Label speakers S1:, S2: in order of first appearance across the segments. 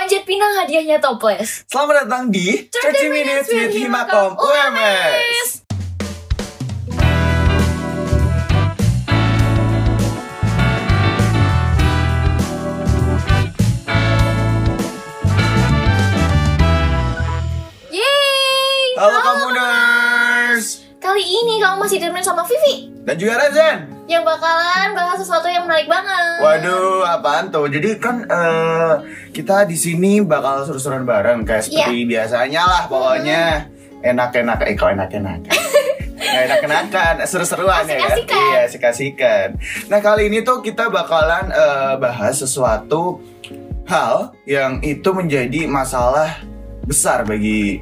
S1: Pinang hadiahnya toples.
S2: Selamat datang di 30 Minutes with Himakom UMS.
S1: Yeay!
S2: Halo Komuners
S1: Kali ini kamu masih ditemenin sama Vivi
S2: dan juga Rezen.
S1: yang bakalan bahas sesuatu yang menarik banget.
S2: Waduh, apaan tuh? Jadi kan eh, kita di sini bakal seru-seruan bareng
S1: Iya.
S2: kayak seperti biasanya lah pokoknya.
S1: Hmm.
S2: Enak-enak, eh kok enak-enak. Nggak enak-enakan, seru-seruan ya kan?
S1: Asik-asikan.
S2: Iya, asik-asikan Nah kali ini tuh kita bakalan eh, bahas sesuatu hal yang itu menjadi masalah besar bagi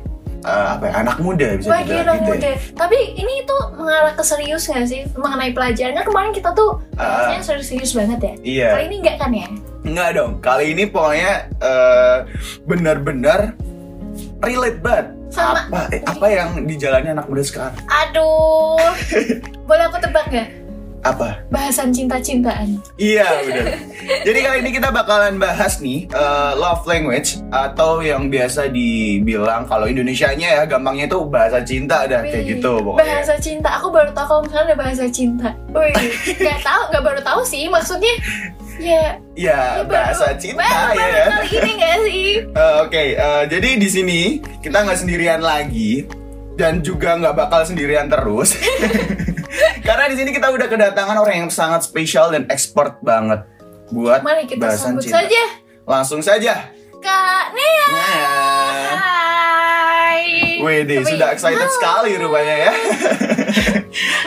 S2: eh, apa ya, anak muda bisa
S1: Bagi
S2: dibilang
S1: anak
S2: gitu ya.
S1: muda. Tapi ini tuh mengarah ke serius nggak sih mengenai pelajarannya kemarin kita tuh
S2: Ah.
S1: bahasnya serius-serius banget ya.
S2: Iya.
S1: Kali ini enggak kan ya?
S2: Enggak dong, kali ini pokoknya eh, benar-benar relate banget
S1: Sama.
S2: apa eh, apa yang dijalani anak muda sekarang
S1: Aduh. Boleh aku tebak nggak?
S2: apa
S1: Bahasan cinta-cintaan.
S2: iya udah jadi kali ini kita bakalan bahas nih eh, love language atau yang biasa dibilang kalau Indonesianya ya gampangnya itu bahasa cinta dah kayak
S1: Wih,
S2: gitu pokoknya
S1: Bahasa cinta. Aku baru tahu kalau misalnya ada bahasa cinta. Wih, nggak tahu, nggak baru tahu sih. Maksudnya ya
S2: ya
S1: ya baru-
S2: bahasa cinta
S1: baru,
S2: ya
S1: baru
S2: kan?
S1: kali ini nggak sih?
S2: Eh, Oke, eh, jadi di sini kita nggak sendirian lagi dan juga nggak bakal sendirian terus. Karena di sini kita udah kedatangan orang yang sangat spesial dan expert banget buat
S1: Mari kita
S2: bahasan
S1: sambut
S2: cinta.
S1: saja
S2: Langsung saja.
S1: Kak Nea.
S2: Nah,
S3: Hai.
S2: Wede
S1: Tapi-
S2: sudah excited
S1: Halo.
S2: sekali rupanya ya.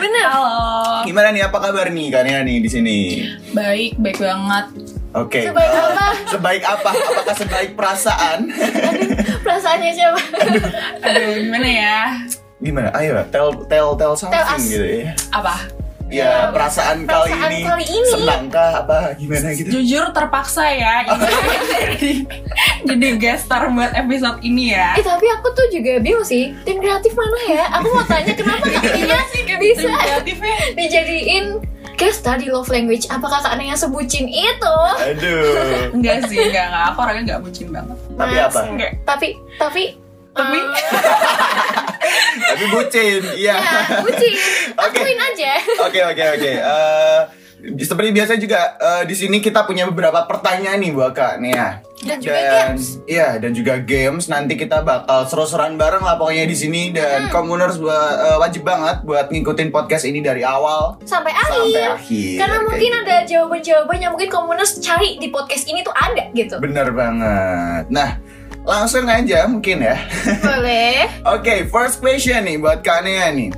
S1: Bener.
S3: Halo.
S2: Gimana nih apa kabar nih Kania nih di sini?
S3: Baik, baik banget.
S2: Oke.
S1: Sebaik
S2: eh,
S1: apa?
S2: Sebaik apa? Apakah sebaik perasaan?
S1: Perasaannya siapa?
S3: Aduh, gimana ya?
S2: Gimana? Ayo, tell tell tell something
S1: us.
S2: gitu ya.
S3: Apa?
S2: Ya, perasaan, kali
S1: Iya, Perasaan
S2: ini,
S1: kali ini.
S2: senangkah apa gimana gitu?
S3: Jujur terpaksa ya.
S1: Iya,
S3: Ini jadi guest star buat episode ini ya.
S1: eh tapi aku tuh juga bingung sih. Tim kreatif mana ya? Aku mau tanya kenapa Kak
S2: Iya
S1: Nea bisa
S3: Tim kreatifnya.
S1: dijadiin guest star di love language? Apakah Kak Nea sebucin itu?
S2: Aduh.
S3: Enggak sih, enggak, enggak. Aku orangnya enggak bucin banget.
S2: Tapi apa?
S3: Enggak.
S1: Tapi tapi
S3: Tapi
S2: Tapi bucin, iya.
S1: ya bucin.
S2: Oke.
S1: Akuin aja.
S2: Oke oke oke. Eh, seperti biasa juga eh, di sini kita punya beberapa pertanyaan nih buat Kak Nea.
S1: Dan juga games.
S2: Iya, dan juga games. Nanti kita bakal seru-seruan bareng lah pokoknya di sini dan
S1: Hmm.
S2: komuners buat- eh, wajib banget buat ngikutin podcast ini dari awal.
S1: Sampai akhir.
S2: Sampai akhir,
S1: Karena
S2: kayak
S1: mungkin
S2: gitu.
S1: ada jawaban-jawaban yang mungkin komuners cari di podcast ini tuh ada gitu.
S2: Bener banget. Nah, langsung aja mungkin ya.
S1: Boleh.
S2: Oke, first question nih buat Kak Nea nih.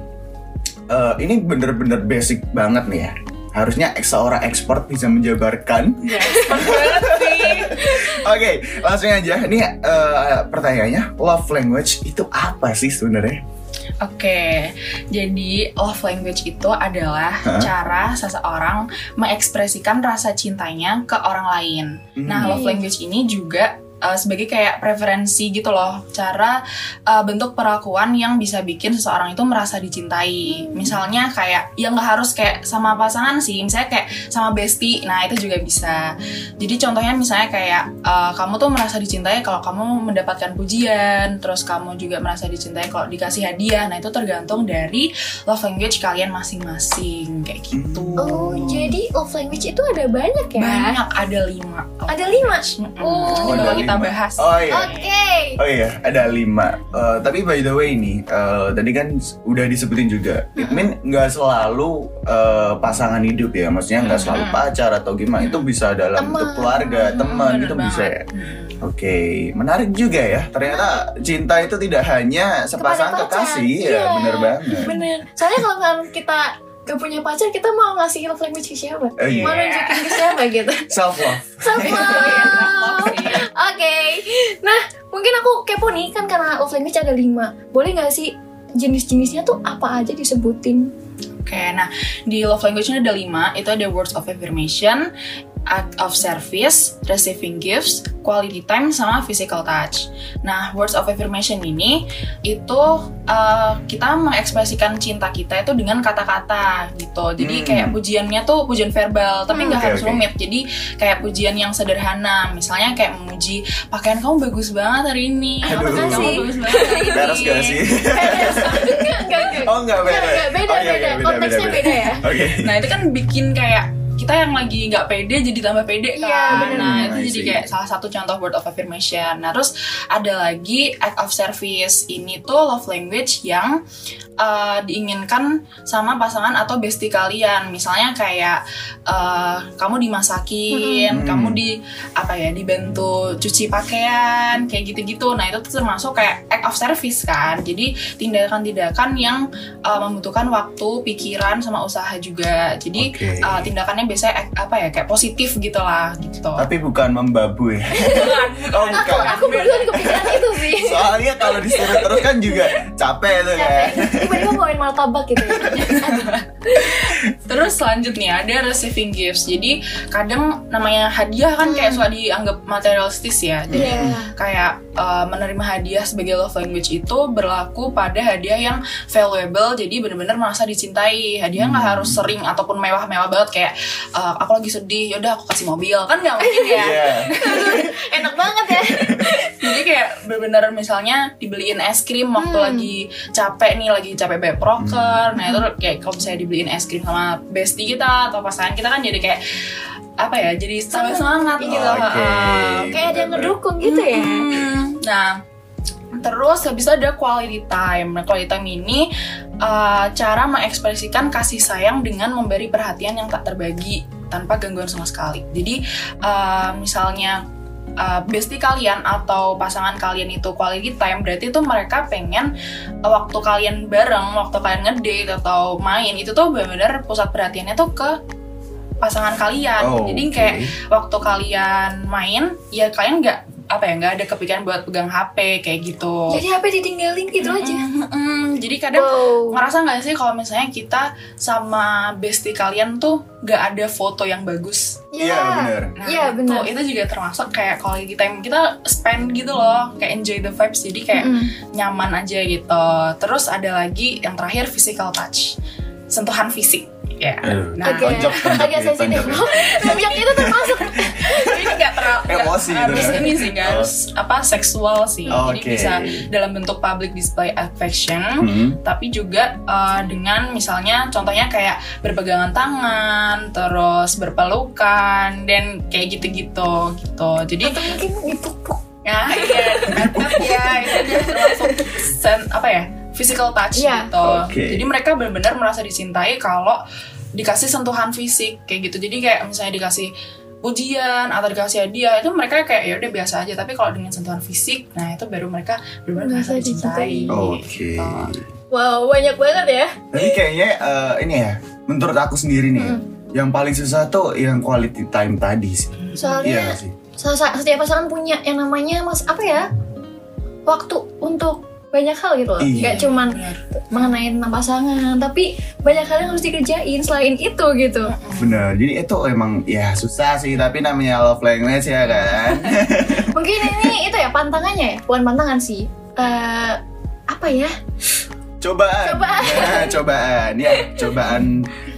S2: Eh, ini bener-bener basic banget nih ya. Harusnya seorang expert bisa menjabarkan.
S3: enggak expert banget sih.
S2: Oke, langsung aja. Ini eh, pertanyaannya, love language itu apa sih sebenarnya?
S3: Oke, jadi love language itu adalah
S2: Hah?
S3: cara seseorang mengekspresikan rasa cintanya ke orang lain. Nah,
S2: Hmm.
S3: love language ini juga uh, sebagai kayak preferensi gitu loh, cara uh, bentuk perlakuan yang bisa bikin seseorang itu merasa dicintai.
S2: Hmm.
S3: Misalnya kayak yang nggak harus kayak sama pasangan sih, misalnya kayak sama bestie. Nah, itu juga bisa. Jadi contohnya misalnya kayak uh, kamu tuh merasa dicintai kalau kamu mendapatkan pujian, terus kamu juga merasa dicintai kalau dikasih hadiah. Nah, itu tergantung dari love language kalian masing-masing kayak gitu.
S2: Hmm.
S1: Oh, jadi love language itu ada banyak ya?
S3: Banyak ada lima.
S1: Ada lima.
S3: Mm-mm.
S1: Oh.
S2: Ada
S3: Coba kita
S2: lima.
S3: bahas.
S2: Oh iya.
S1: Oke.
S2: Oh iya, ada lima. Eh, tapi by the way nih, eh, tadi kan s- udah disebutin juga. It mean nggak selalu eh, pasangan hidup ya, maksudnya nggak selalu
S3: Mm-mm.
S2: pacar atau gimana. Itu bisa dalam
S1: Teman.
S2: bentuk keluarga, teman
S3: Bener
S2: gitu bisa
S3: banget.
S2: ya.
S3: Hmm.
S2: Oke, menarik juga ya. Ternyata cinta itu tidak hanya sepasang
S1: Kepada pacar.
S2: kekasih,
S1: Iya.
S2: ya bener banget.
S1: Bener. Soalnya kalau kan kita gak punya pacar, kita mau ngasih love language ke siapa?
S2: Oh, iya.
S1: Mau nunjukin ke siapa gitu?
S2: Self love.
S1: Sama. Oke.
S3: Iya.
S1: Nah, mungkin aku kepo nih kan karena love language ada lima. Boleh nggak sih jenis-jenisnya tuh apa aja disebutin?
S3: Oke, nah di love language-nya ada lima, itu ada words of affirmation, act of service, receiving gifts, quality time, sama physical touch. Nah, words of affirmation ini itu uh, kita mengekspresikan cinta kita itu dengan kata-kata gitu. Jadi
S2: Hmm.
S3: kayak pujiannya tuh pujian verbal, tapi
S1: Hmm.
S3: nggak
S2: Oke,
S3: harus
S2: oke.
S3: rumit. Jadi kayak pujian yang sederhana, misalnya kayak memuji pakaian kamu bagus banget hari ini,
S2: Aduh.
S3: outfit kamu
S1: Makasih.
S3: bagus banget hari ini.
S2: Beres gak
S1: Iya,
S2: sih?
S1: Enggak, enggak, enggak.
S2: Oh iya, enggak
S1: Enggak,
S2: beres.
S1: enggak, beda,
S2: Oke, oke,
S1: beda. Konteksnya beda ya.
S2: Oke.
S3: Nah itu kan bikin kayak kita yang lagi nggak pede jadi tambah pede kan.
S1: Iya, bener.
S3: nah
S2: Hmm, I
S3: itu jadi
S2: see.
S3: kayak salah satu contoh word of affirmation. Nah terus ada lagi act of service. Ini tuh love language yang uh, diinginkan sama pasangan atau bestie kalian. Misalnya kayak uh, kamu dimasakin,
S2: Hmm.
S3: kamu di apa ya dibantu cuci pakaian kayak gitu-gitu. Nah itu tuh termasuk kayak act of service kan. Jadi tindakan-tindakan yang uh, membutuhkan waktu, pikiran, sama usaha juga. Jadi
S2: Oke.
S3: uh, tindakannya biasanya ek- apa ya kayak positif gitu lah gitu.
S2: Tapi bukan ya. membabui. Oh,
S1: Aku,
S2: bukan.
S1: aku barusan kepikiran itu sih.
S2: Soalnya kalau disuruh terus kan juga capek tuh
S1: Capek. iya.
S2: kan.
S1: Tiba-tiba bawain martabak gitu ya.
S3: Terus selanjutnya ada receiving gifts. Jadi kadang namanya hadiah kan kayak suka dianggap materialistis ya. Jadi
S1: Iya.
S3: kayak uh, menerima hadiah sebagai love language itu berlaku pada hadiah yang valuable jadi bener-bener merasa dicintai hadiah nggak harus sering ataupun mewah-mewah banget kayak uh, aku lagi sedih yaudah aku kasih mobil kan nggak mungkin ya
S2: Iya.
S1: Enak banget ya.
S3: jadi kayak bener-bener misalnya dibeliin es krim waktu
S1: Hmm.
S3: lagi capek nih lagi capek banyak
S4: Hmm.
S3: proker nah itu kayak kalau misalnya dibeliin es krim sama bestie kita atau pasangan kita kan jadi kayak apa ya jadi tambah semangat
S1: Oke.
S3: gitu heeh.
S1: Kayak ada yang ngedukung gitu ya.
S3: Mm-mm. Nah, terus habis itu ada quality time. Nah, quality time ini uh, cara mengekspresikan kasih sayang dengan memberi perhatian yang tak terbagi tanpa gangguan sama sekali. Jadi, uh, misalnya uh, bestie kalian atau pasangan kalian itu quality time berarti itu mereka pengen uh, waktu kalian bareng, waktu kalian ngedate atau main itu tuh benar-benar pusat perhatiannya tuh ke pasangan kalian.
S2: Oh,
S3: Jadi
S2: oke.
S3: kayak waktu kalian main ya kalian nggak apa ya nggak ada kepikiran buat pegang HP kayak gitu
S1: Jadi HP ditinggalin gitu aja.
S3: Mm, mm, jadi kadang
S1: Wow.
S3: ngerasa nggak sih kalau misalnya kita sama bestie kalian tuh nggak ada foto yang bagus Nah,
S2: Iya benar.
S1: Iya,
S3: itu-
S1: benar.
S3: itu juga termasuk kayak kalau kita kita spend gitu loh kayak enjoy the vibes jadi kayak
S1: Mm-mm.
S3: nyaman aja gitu terus ada lagi yang terakhir physical touch sentuhan fisik ya
S2: Aduh.
S3: nah
S1: Oke.
S2: tonjok, tonjok
S1: Agak
S2: gitu,
S1: sensitif.
S2: tonjok.
S1: Tonjok itu termasuk.
S3: Jadi nggak terlalu
S2: Emosi gitu
S3: harus
S2: kan.
S3: ini sih nggak harus apa seksual sih jadi
S2: Oke.
S3: bisa dalam bentuk public display affection
S2: Hmm.
S3: tapi juga eh, dengan misalnya contohnya kayak berpegangan tangan terus berpelukan dan kayak gitu-gitu gitu jadi
S1: Atau mungkin dipuk-puk.
S3: ya ya tetap ya itu dia termasuk sen- apa ya physical touch
S1: Iya.
S3: gitu
S2: Oke.
S3: jadi mereka benar-benar merasa dicintai kalau dikasih sentuhan fisik kayak gitu jadi kayak misalnya dikasih ujian atau dikasih hadiah itu mereka kayak ya udah biasa aja tapi kalau dengan sentuhan fisik nah itu baru mereka benar-benar merasa
S1: Merasa
S3: dicintai
S1: dicintai.
S2: Oke.
S3: gitu.
S1: Wow, banyak banget ya.
S2: Tapi kayaknya eh, ini ya, menurut aku sendiri nih,
S1: Hmm.
S2: yang paling susah tuh yang quality time tadi sih. Iya
S1: Soalnya
S2: nggak sih.
S1: so- so- setiap pasangan punya yang namanya mas apa ya? Waktu untuk banyak hal gitu loh.
S2: Iya.
S1: Nggak cuman
S3: Benar.
S1: mengenai tentang pasangan, tapi banyak hal yang harus dikerjain selain itu gitu.
S2: Bener, jadi itu emang ya susah sih, tapi namanya love language ya kan
S1: Mungkin ini itu ya pantangannya ya, bukan pantangan sih. Eh apa ya?
S2: Cobaan
S1: Cobaan.
S2: Ya, Cobaan, ya cobaan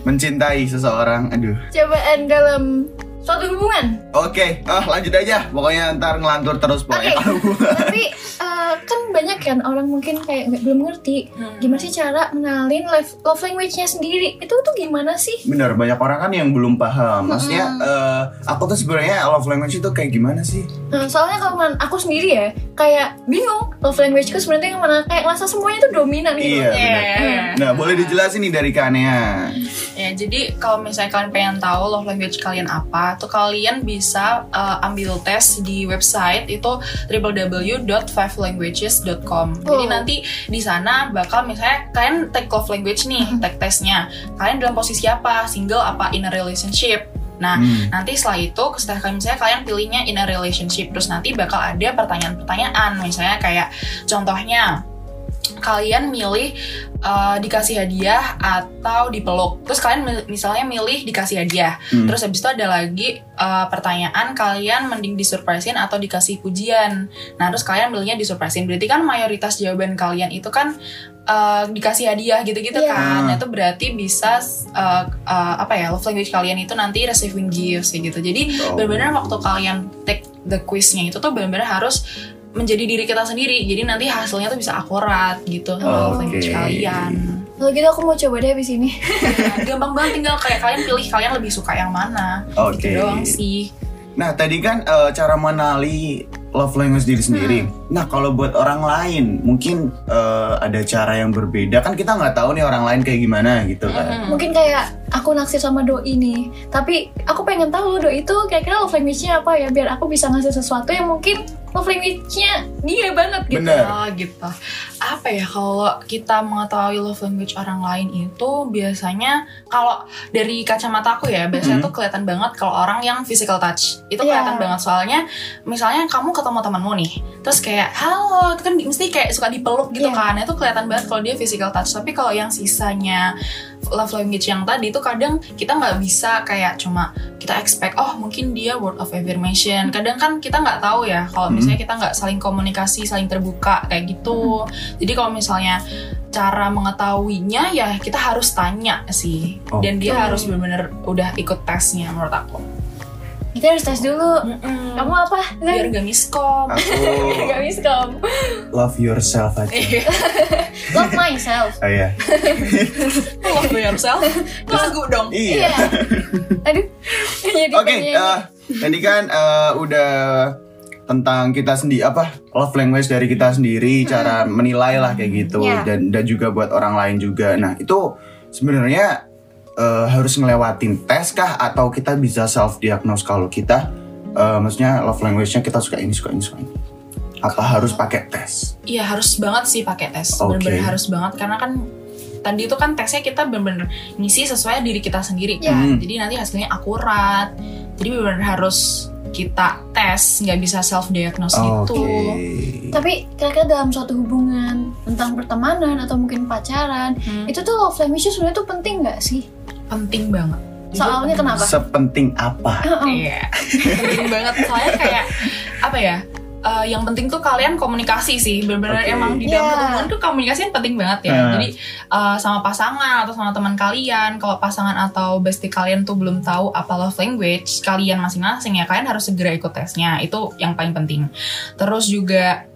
S2: mencintai seseorang, aduh
S1: Cobaan dalam suatu hubungan.
S2: Oke, ah, lanjut aja, pokoknya ntar ngelantur terus pokoknya
S1: Oke.
S2: kalau gua.
S1: Tapi eh, kan banyak kan orang mungkin kayak nggak belum ngerti
S3: Hmm.
S1: gimana sih cara menalin love, love language-nya sendiri. Itu tuh gimana sih?
S2: Bener, banyak orang kan yang belum paham Maksudnya, eh, aku tuh sebenarnya love language itu kayak gimana sih?
S1: Nah, soalnya kalau men- aku sendiri ya kayak bingung love language-ku sebenarnya yang mana kayak ngerasa semuanya tuh dominan gitu.
S2: Iya, bener Nah, boleh dijelasin nih dari Kanea
S3: Ya, jadi kalau misalnya kalian pengen tahu love language kalian apa, tuh kalian bisa uh, ambil tes di website itu www.fivelanguages.com. Jadi
S1: Oh.
S3: nanti di sana bakal misalnya kalian take love language nih, take tesnya. Kalian dalam posisi apa? Single apa in a relationship? Nah,
S2: Hmm.
S3: nanti setelah itu setelah kalian misalnya kalian pilihnya in a relationship terus nanti bakal ada pertanyaan-pertanyaan misalnya kayak contohnya
S4: kalian milih eh, dikasih hadiah atau dipeluk. Terus kalian mil- misalnya milih dikasih hadiah.
S2: Hmm.
S4: Terus habis itu ada lagi eh, pertanyaan kalian mending disurpresin atau dikasih pujian. Nah, terus kalian milihnya disurpresin. Berarti kan mayoritas jawaban kalian itu kan eh, dikasih hadiah gitu-gitu
S1: Iya.
S4: kan. Nah, Itu berarti bisa eh, eh, apa ya? Love language kalian itu nanti receiving gifts kayak gitu. Jadi
S2: Oh.
S4: benar-benar waktu kalian take the quiznya itu tuh benar-benar harus menjadi diri kita sendiri jadi nanti hasilnya tuh bisa akurat gitu sama
S2: Oke.
S4: language kalian
S1: Kalau gitu aku mau coba deh abis ini.
S4: Nah, gampang banget tinggal kayak kalian pilih kalian lebih suka yang mana
S2: Oke.
S4: gitu doang sih
S2: Nah, tadi kan eh, cara mengenali love language diri sendiri.
S4: Hmm.
S2: Nah, kalau buat orang lain, mungkin eh, ada cara yang berbeda. Kan kita nggak tahu nih orang lain kayak gimana gitu kan.
S4: Mm-mm.
S1: Mungkin kayak aku naksir sama doi nih. Tapi aku pengen tahu doi itu kira-kira love language-nya apa ya biar aku bisa ngasih sesuatu yang mungkin love language-nya dia banget gitu.
S2: Bener.
S4: Oh, gitu apa ya kalau kita mengetahui love language orang lain itu biasanya kalau dari kacamata aku ya biasanya
S2: Mm-mm.
S4: tuh kelihatan banget kalau orang yang physical touch
S1: Iya.
S4: itu kelihatan banget soalnya misalnya kamu ketemu temanmu nih terus kayak halo itu kan di- mesti kayak suka dipeluk gitu
S1: Iya.
S4: kan itu kelihatan banget kalau dia physical touch tapi kalau yang sisanya love language yang tadi itu kadang kita nggak bisa kayak cuma kita expect oh mungkin dia word of affirmation kadang kan kita nggak tahu ya kalau
S2: Mm-mm.
S4: misalnya kita nggak saling komunikasi saling terbuka kayak gitu jadi kalau misalnya cara mengetahuinya ya kita harus tanya sih dan dia
S1: Oke.
S4: harus benar-benar udah ikut tesnya menurut aku
S1: Kita harus tes dulu. Kamu
S4: kamu
S1: apa?
S4: Hmm. biar gak miskom
S1: Gak
S2: Aku
S1: miskom.
S2: love yourself aja.
S4: Iya.
S1: Love myself.
S2: Oh iya.
S4: love yourself lagu dong
S2: Iya.
S1: Aduh. Jadi
S2: Oke,
S1: penyanyi.
S2: eh, tadi kan eh, udah tentang kita sendiri apa love language dari kita sendiri, cara menilai lah kayak gitu
S1: Iya.
S2: dan dan juga buat orang lain juga. Nah, itu sebenarnya eh, harus ngelewatin tes kah atau kita bisa self diagnose kalau kita eh, maksudnya love language-nya kita suka ini suka ini suka ini. Apa harus pakai tes?
S4: Iya harus banget sih pakai tes.
S2: Oke.
S4: Bener-bener harus banget karena kan tadi itu kan tesnya kita bener-bener ngisi sesuai diri kita sendiri. kan.
S1: Iya.
S2: Hmm.
S4: Jadi nanti hasilnya akurat. Jadi bener-bener harus kita tes, nggak bisa self diagnose gitu.
S1: Tapi kira-kira dalam suatu hubungan tentang pertemanan atau mungkin pacaran,
S4: Hmm,
S1: itu tuh love language sebenarnya tuh penting nggak sih?
S4: penting banget. Jujur,
S1: Soalnya
S4: penting
S1: kenapa? Oh,
S2: Sepenting apa?
S1: Heeh.
S4: Iya, penting banget. Soalnya kayak apa ya? eh, yang penting tuh kalian komunikasi sih. Bener-bener
S2: Oke.
S4: emang di dalam
S1: Iya.
S4: hubungan tuh komunikasi yang penting banget ya.
S2: Nah.
S4: Jadi eh, sama pasangan atau sama teman kalian, kalau pasangan atau bestie kalian tuh belum tahu apa love language kalian masing-masing ya, kalian harus segera ikut tesnya. Itu yang paling penting. Terus juga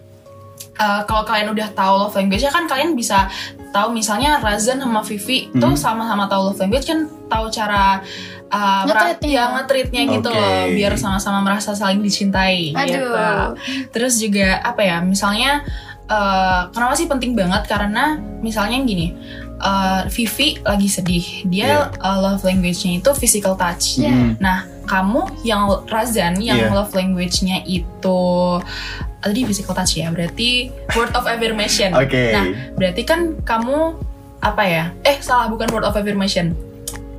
S4: eh, kalau kalian udah tahu love language ya kan kalian bisa tahu misalnya Razan sama Vivi tuh
S2: Hmm.
S4: sama-sama tahu love language kan tahu cara uh, mera-
S1: Nge-treatnya.
S4: ya, nge-treatnya gitu
S2: Oke.
S4: loh biar sama-sama merasa saling dicintai gitu.
S1: Aduh.
S4: Terus juga apa ya? Misalnya eh, kenapa sih penting banget karena misalnya gini, eh, Vivi lagi
S2: Iya.
S4: sedih. Dia eh, love language-nya itu physical touch.
S1: Iya.
S2: Mm.
S4: Nah, kamu yang Razan yang
S2: Iya.
S4: love language-nya itu tadi physical touch ya. Berarti word of affirmation.
S2: Oke.
S4: Nah, berarti kan kamu apa ya? Eh salah bukan word of affirmation.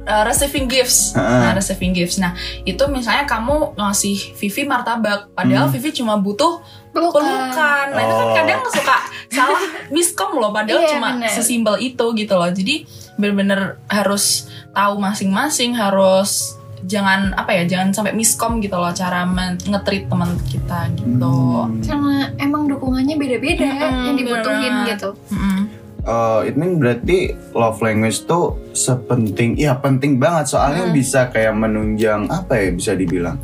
S4: Uh, receiving gifts,
S2: Heeh.
S4: nah receiving gifts. Nah itu misalnya kamu ngasih Vivi martabak, padahal
S2: Hmm.
S4: Vivi cuma butuh
S1: Pelukan.
S4: pelukan. Nah itu kan
S2: Oh.
S4: kadang suka salah miskom loh, padahal
S1: Iya,
S4: cuma
S1: bener.
S4: sesimpel itu gitu loh. Jadi bener-bener harus tahu masing-masing, harus jangan apa ya, jangan sampai miskom gitu loh cara men- nge-treat teman kita gitu.
S2: Hmm.
S1: Karena emang dukungannya beda-beda
S4: Mm-mm,
S1: yang dibutuhin
S4: bener.
S1: gitu.
S4: Mm-mm.
S2: Eh, it mean berarti love language tuh sepenting ya penting banget soalnya
S1: Hmm.
S2: bisa kayak menunjang apa ya bisa dibilang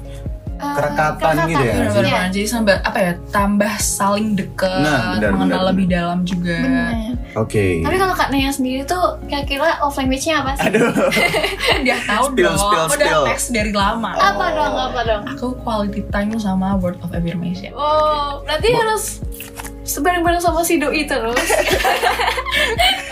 S1: Eh,
S2: Kerekatan gitu ya,
S4: Bener,
S2: Iya.
S4: bener, bener. Jadi sambil apa ya tambah saling deket,
S2: Nah, benar,
S4: mengenal
S2: benar,
S4: lebih dalam juga.
S2: Iya.
S1: Bener.
S2: oke
S1: Tapi kalau Kak Naya sendiri tuh kira-kira love language-nya apa sih?
S2: aduh
S4: Udah tahu
S2: Spill,
S4: dong,
S2: spill,
S4: udah
S2: spill.
S4: tes dari lama.
S2: Oh.
S1: Apa dong? Apa dong?
S4: Aku quality time sama word of affirmation.
S1: Oh, berarti harus sebareng-bareng sama si doi terus.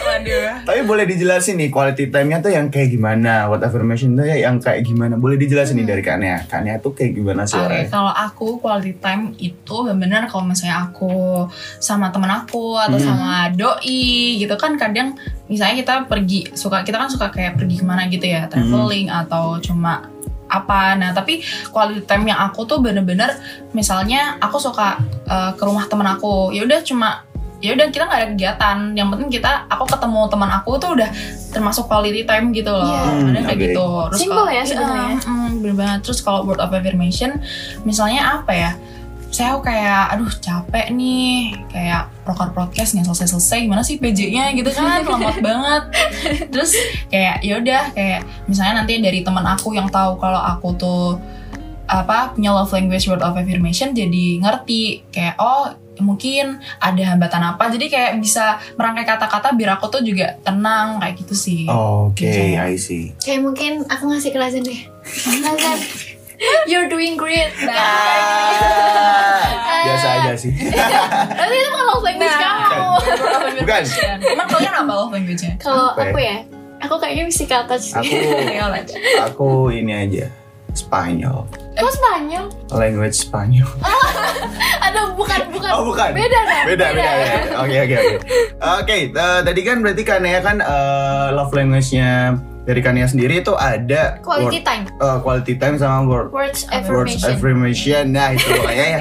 S4: Waduh.
S2: tapi boleh dijelasin nih quality time-nya tuh yang kayak gimana what affirmation tuh ya yang kayak gimana boleh dijelasin
S1: Hmm.
S2: nih dari kaknya kaknya tuh kayak gimana sih
S4: Oke,
S2: orangnya
S4: kalau aku quality time itu benar-benar kalau misalnya aku sama temen aku atau
S2: Hmm.
S4: sama doi gitu kan kadang misalnya kita pergi suka kita kan suka kayak pergi kemana gitu
S2: Hmm.
S4: ya traveling atau cuma apa nah tapi quality time yang aku tuh bener-bener misalnya aku suka eh, ke rumah temen aku ya udah cuma ya udah kita nggak ada kegiatan yang penting kita aku ketemu teman aku tuh udah termasuk quality time gitu loh
S1: Iya.
S2: Hmm,
S4: ada kayak
S2: oke.
S4: gitu terus
S1: Simple
S4: kalau-
S1: ya sebenarnya.
S4: Iya, mm, bener banget terus kalau word of affirmation misalnya apa ya saya kayak aduh capek nih kayak proker podcast nggak selesai selesai gimana sih PJ-nya gitu kan lambat banget terus kayak ya udah kayak misalnya nanti dari teman aku yang tahu kalau aku tuh apa punya love language word of affirmation jadi ngerti kayak oh mungkin ada hambatan apa jadi kayak bisa merangkai kata-kata biar aku tuh juga tenang kayak gitu sih
S2: Oh. Oke, I see.
S1: Kayak mungkin aku ngasih kelasan deh. Kelasan. You're doing great. Nah,
S2: Ah, Biasa aja sih.
S1: Iya, Tapi itu bukan love language
S4: Nah.
S1: kamu.
S4: Word of
S2: Bukan.
S4: affirmation. emang kalian apa love language-nya?
S1: Kalau
S2: Apa ya?
S1: aku ya, aku kayaknya physical touch.
S2: Aku aku ini aja. Spanyol.
S1: Kok Spanyol?
S2: Language Spanyol.
S1: Aduh, bukan, bukan.
S2: Oh, bukan.
S1: Beda kan?
S2: Beda, beda. ya. Oke, oke, oke. Oke, eh, tadi kan berarti Kanea kan eh, love language-nya dari Kanea sendiri itu ada
S1: Quality
S2: word-
S1: time.
S2: eh, quality time sama word
S1: Words
S2: Words
S1: affirmation.
S2: affirmation. Nah, itu makanya ya.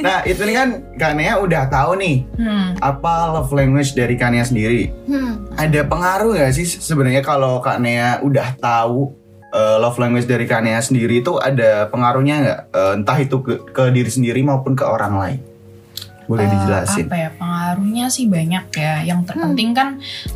S2: nah, itu nih kan Kanea udah tahu nih
S4: hmm.
S2: apa love language dari Kanea sendiri.
S1: hmm.
S2: Ada pengaruh nggak sih sebenarnya kalau Kak Nea udah tahu eh, love language dari Kak Nea sendiri itu ada pengaruhnya nggak? Eh, entah itu ke, ke diri sendiri maupun ke orang lain. Boleh
S4: Eh,
S2: dijelasin?
S4: apa ya pengaruhnya sih banyak ya
S1: Hmm.
S4: yang terpenting kan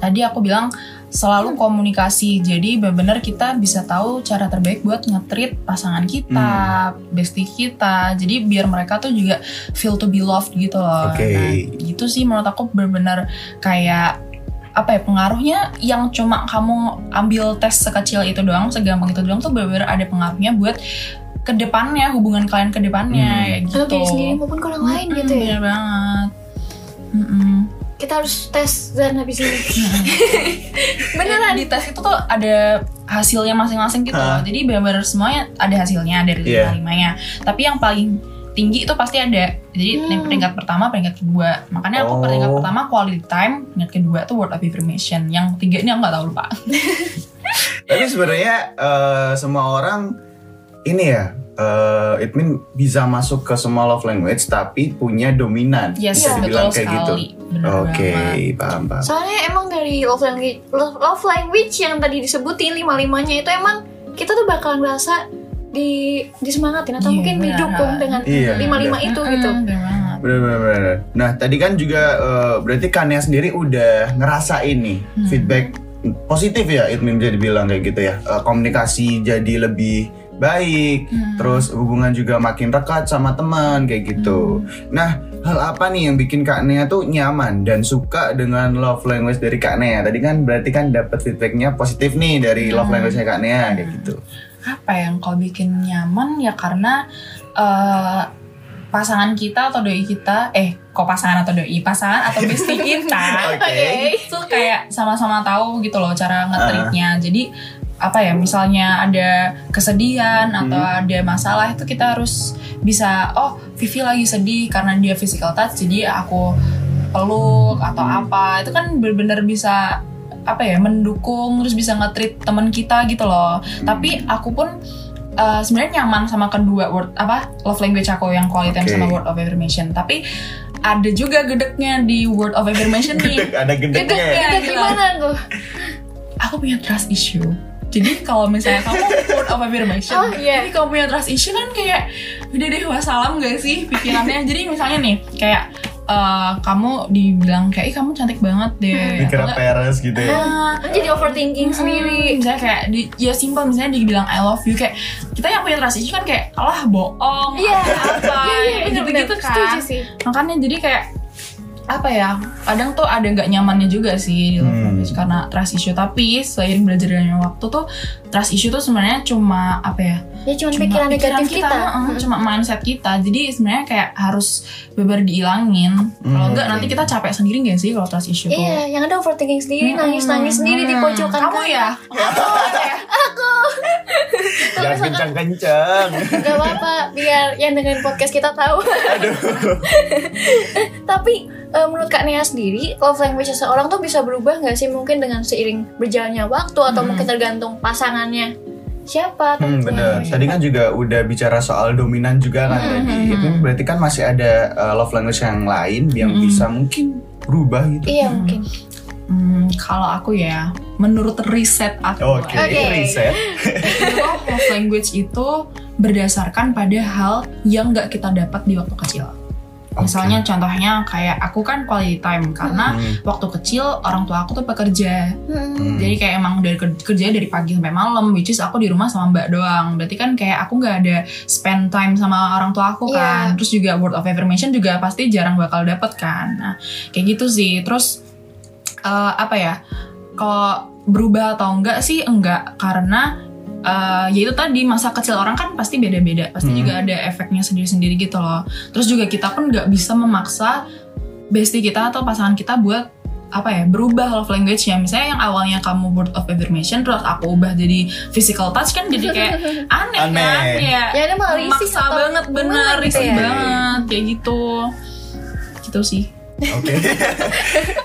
S4: tadi aku bilang selalu komunikasi jadi benar-benar kita bisa tahu cara terbaik buat ngetrit pasangan kita
S2: Hmm.
S4: bestie kita jadi biar mereka tuh juga feel to be loved gitu loh
S2: Oke.
S4: Nah, gitu sih menurut aku benar-benar kayak apa ya pengaruhnya yang cuma kamu ambil tes sekecil itu doang segampang itu doang tuh benar-benar ada pengaruhnya buat kedepannya hubungan kalian kedepannya
S2: Hmm.
S4: kayak gitu
S1: Kalau diri sendiri maupun ke orang lain
S4: Mm-mm,
S1: gitu ya.
S4: bener banget. Mm-mm.
S1: Kita harus tes dan habis ini.
S4: Beneran di tes itu tuh ada hasilnya masing-masing gitu.
S2: Hah.
S4: loh. Jadi bener-bener semuanya ada hasilnya dari
S2: Ah. Iya.
S4: lima limanya. Tapi yang paling tinggi itu pasti ada. Jadi
S1: Hmm.
S4: yang peringkat pertama, peringkat kedua. Makanya aku
S2: Oh.
S4: peringkat pertama quality time, peringkat kedua tuh word of affirmation. Yang tiga ini aku nggak tahu lupa.
S2: Tapi sebenarnya eh, semua orang ini ya, eh, it mean bisa masuk ke semua love language tapi punya dominan.
S4: Yes,
S1: Iya.
S2: dibilang
S4: betul
S2: kayak gitu.
S4: sekali. Bener
S2: Oke,
S4: banget.
S2: paham paham.
S1: Soalnya emang dari love language, love, love language yang tadi disebutin lima-limanya itu emang kita tuh bakal ngerasa di disemangatin atau
S4: Iya,
S1: mungkin
S4: benar.
S1: didukung dengan
S2: Iya,
S1: lima-lima itu
S4: Mm-mm,
S1: gitu.
S4: bener banget.
S2: Bener, bener, bener. Nah, tadi kan juga eh, berarti Kania sendiri udah ngerasain nih
S4: Hmm.
S2: feedback positif ya, itu bisa dibilang kayak gitu ya. Eh, komunikasi jadi lebih baik,
S4: Hmm.
S2: terus hubungan juga makin dekat sama teman kayak gitu.
S4: Hmm.
S2: Nah, hal apa nih yang bikin Kak Nea tuh nyaman dan suka dengan love language dari Kak Nea? Tadi kan berarti kan dapat feedbacknya positif nih dari love
S4: Hmm.
S2: language-nya Kak Nea kayak gitu.
S4: apa ya, yang kau bikin nyaman ya karena eh, pasangan kita atau doi kita eh kok pasangan atau doi pasangan atau bestie kita
S2: Oke.
S4: itu kayak sama-sama tahu gitu loh cara ngetritnya jadi apa ya misalnya ada kesedihan
S2: Hmm.
S4: atau ada masalah itu kita harus bisa oh Vivi lagi sedih karena dia physical touch jadi aku peluk atau
S2: Hmm.
S4: apa itu kan bener-bener bisa apa ya mendukung terus bisa nge-treat teman kita gitu loh
S2: Hmm.
S4: tapi aku pun eh, sebenarnya nyaman sama kedua word apa love language aku yang quality time
S2: Oke.
S4: sama word of affirmation tapi ada juga gedeknya di word of affirmation
S2: Gedek,
S4: nih
S2: ada gedeknya. ya?
S1: Kita gimana tuh?
S4: aku punya trust issue jadi kalau misalnya kamu word of affirmation
S1: Oh, iya.
S4: jadi kamu punya trust issue kan kayak udah deh wassalam gak sih pikirannya jadi misalnya nih kayak eh, kamu dibilang kayak ih kamu cantik banget
S1: Hmm.
S4: deh
S2: Dikira peres gitu ya.
S4: Ah,
S1: Kan Jadi overthinking
S4: Hmm,
S1: sendiri.
S4: misalnya kayak di- ya simpel misalnya dibilang I love you kayak kita yang punya trust issue kan kayak alah bohong
S1: Iya. Iya,
S4: apa
S1: iya,
S4: gitu
S1: bener-bener.
S4: gitu
S1: Setuju
S4: kan
S1: sih.
S4: makanya jadi kayak apa ya kadang tuh ada nggak nyamannya juga sih di love
S2: Hmm.
S4: language karena trust issue tapi selain belajar dari waktu tuh trust issue tuh sebenarnya cuma apa ya
S1: Ya cuma pikiran negatif kita.
S4: eh,
S1: Hmm.
S4: cuma mindset kita jadi sebenarnya kayak harus beber dihilangin kalau
S2: Hmm,
S4: enggak
S2: oke.
S4: nanti kita capek sendiri nggak sih kalau trust issue tuh
S1: Iya, yang ada overthinking sendiri, nangis-nangis sendiri di
S4: Hmm.
S1: pojokan. kan?
S4: kamu ya
S2: Jangan kencang-kencang.
S1: Gak apa-apa, biar yang dengerin podcast kita tahu. Tapi eh, menurut Kak Nea sendiri, love language seseorang tuh bisa berubah nggak sih mungkin dengan seiring berjalannya waktu atau
S4: Hmm.
S1: mungkin tergantung pasangannya? siapa
S2: Hmm,
S1: tentunya.
S2: bener. Tadi kan juga udah bicara soal dominan juga kan
S3: Hmm,
S2: tadi.
S3: hmm,
S2: Itu
S3: hmm.
S2: berarti kan masih ada uh, love language yang lain yang
S4: Hmm.
S2: bisa mungkin berubah gitu.
S1: iya mungkin
S4: Hmm, kalau aku ya, menurut riset aku,
S2: Oke,
S1: Oke.
S2: riset.
S4: itu love language itu berdasarkan pada hal yang nggak kita dapat di waktu kecil. Misalnya contohnya kayak aku kan quality time karena
S2: Hmm,
S4: waktu kecil orang tua aku tuh pekerja.
S1: Hmm.
S2: hmm.
S4: Jadi kayak emang dari ker- kerja dari pagi sampai malam, which is aku di rumah sama mbak doang. Berarti kan kayak aku nggak ada spend time sama orang tua aku kan. Terus juga word of affirmation juga pasti jarang bakal dapet kan. Nah kayak gitu sih. Terus eh, apa ya? Kalau berubah atau enggak sih enggak karena eh, ya itu tadi masa kecil orang kan pasti beda-beda. Pasti
S2: Hmm.
S4: juga ada efeknya sendiri-sendiri gitu loh. Terus juga kita pun nggak bisa memaksa bestie kita atau pasangan kita buat apa ya berubah love language nya misalnya yang awalnya kamu word of affirmation terus aku ubah jadi physical touch kan jadi kayak aneh, kan
S2: Aneh.
S4: ya
S1: ya ini malah risih
S4: maksa banget bener risih
S2: ya?
S4: banget kayak gitu gitu sih
S2: Oke.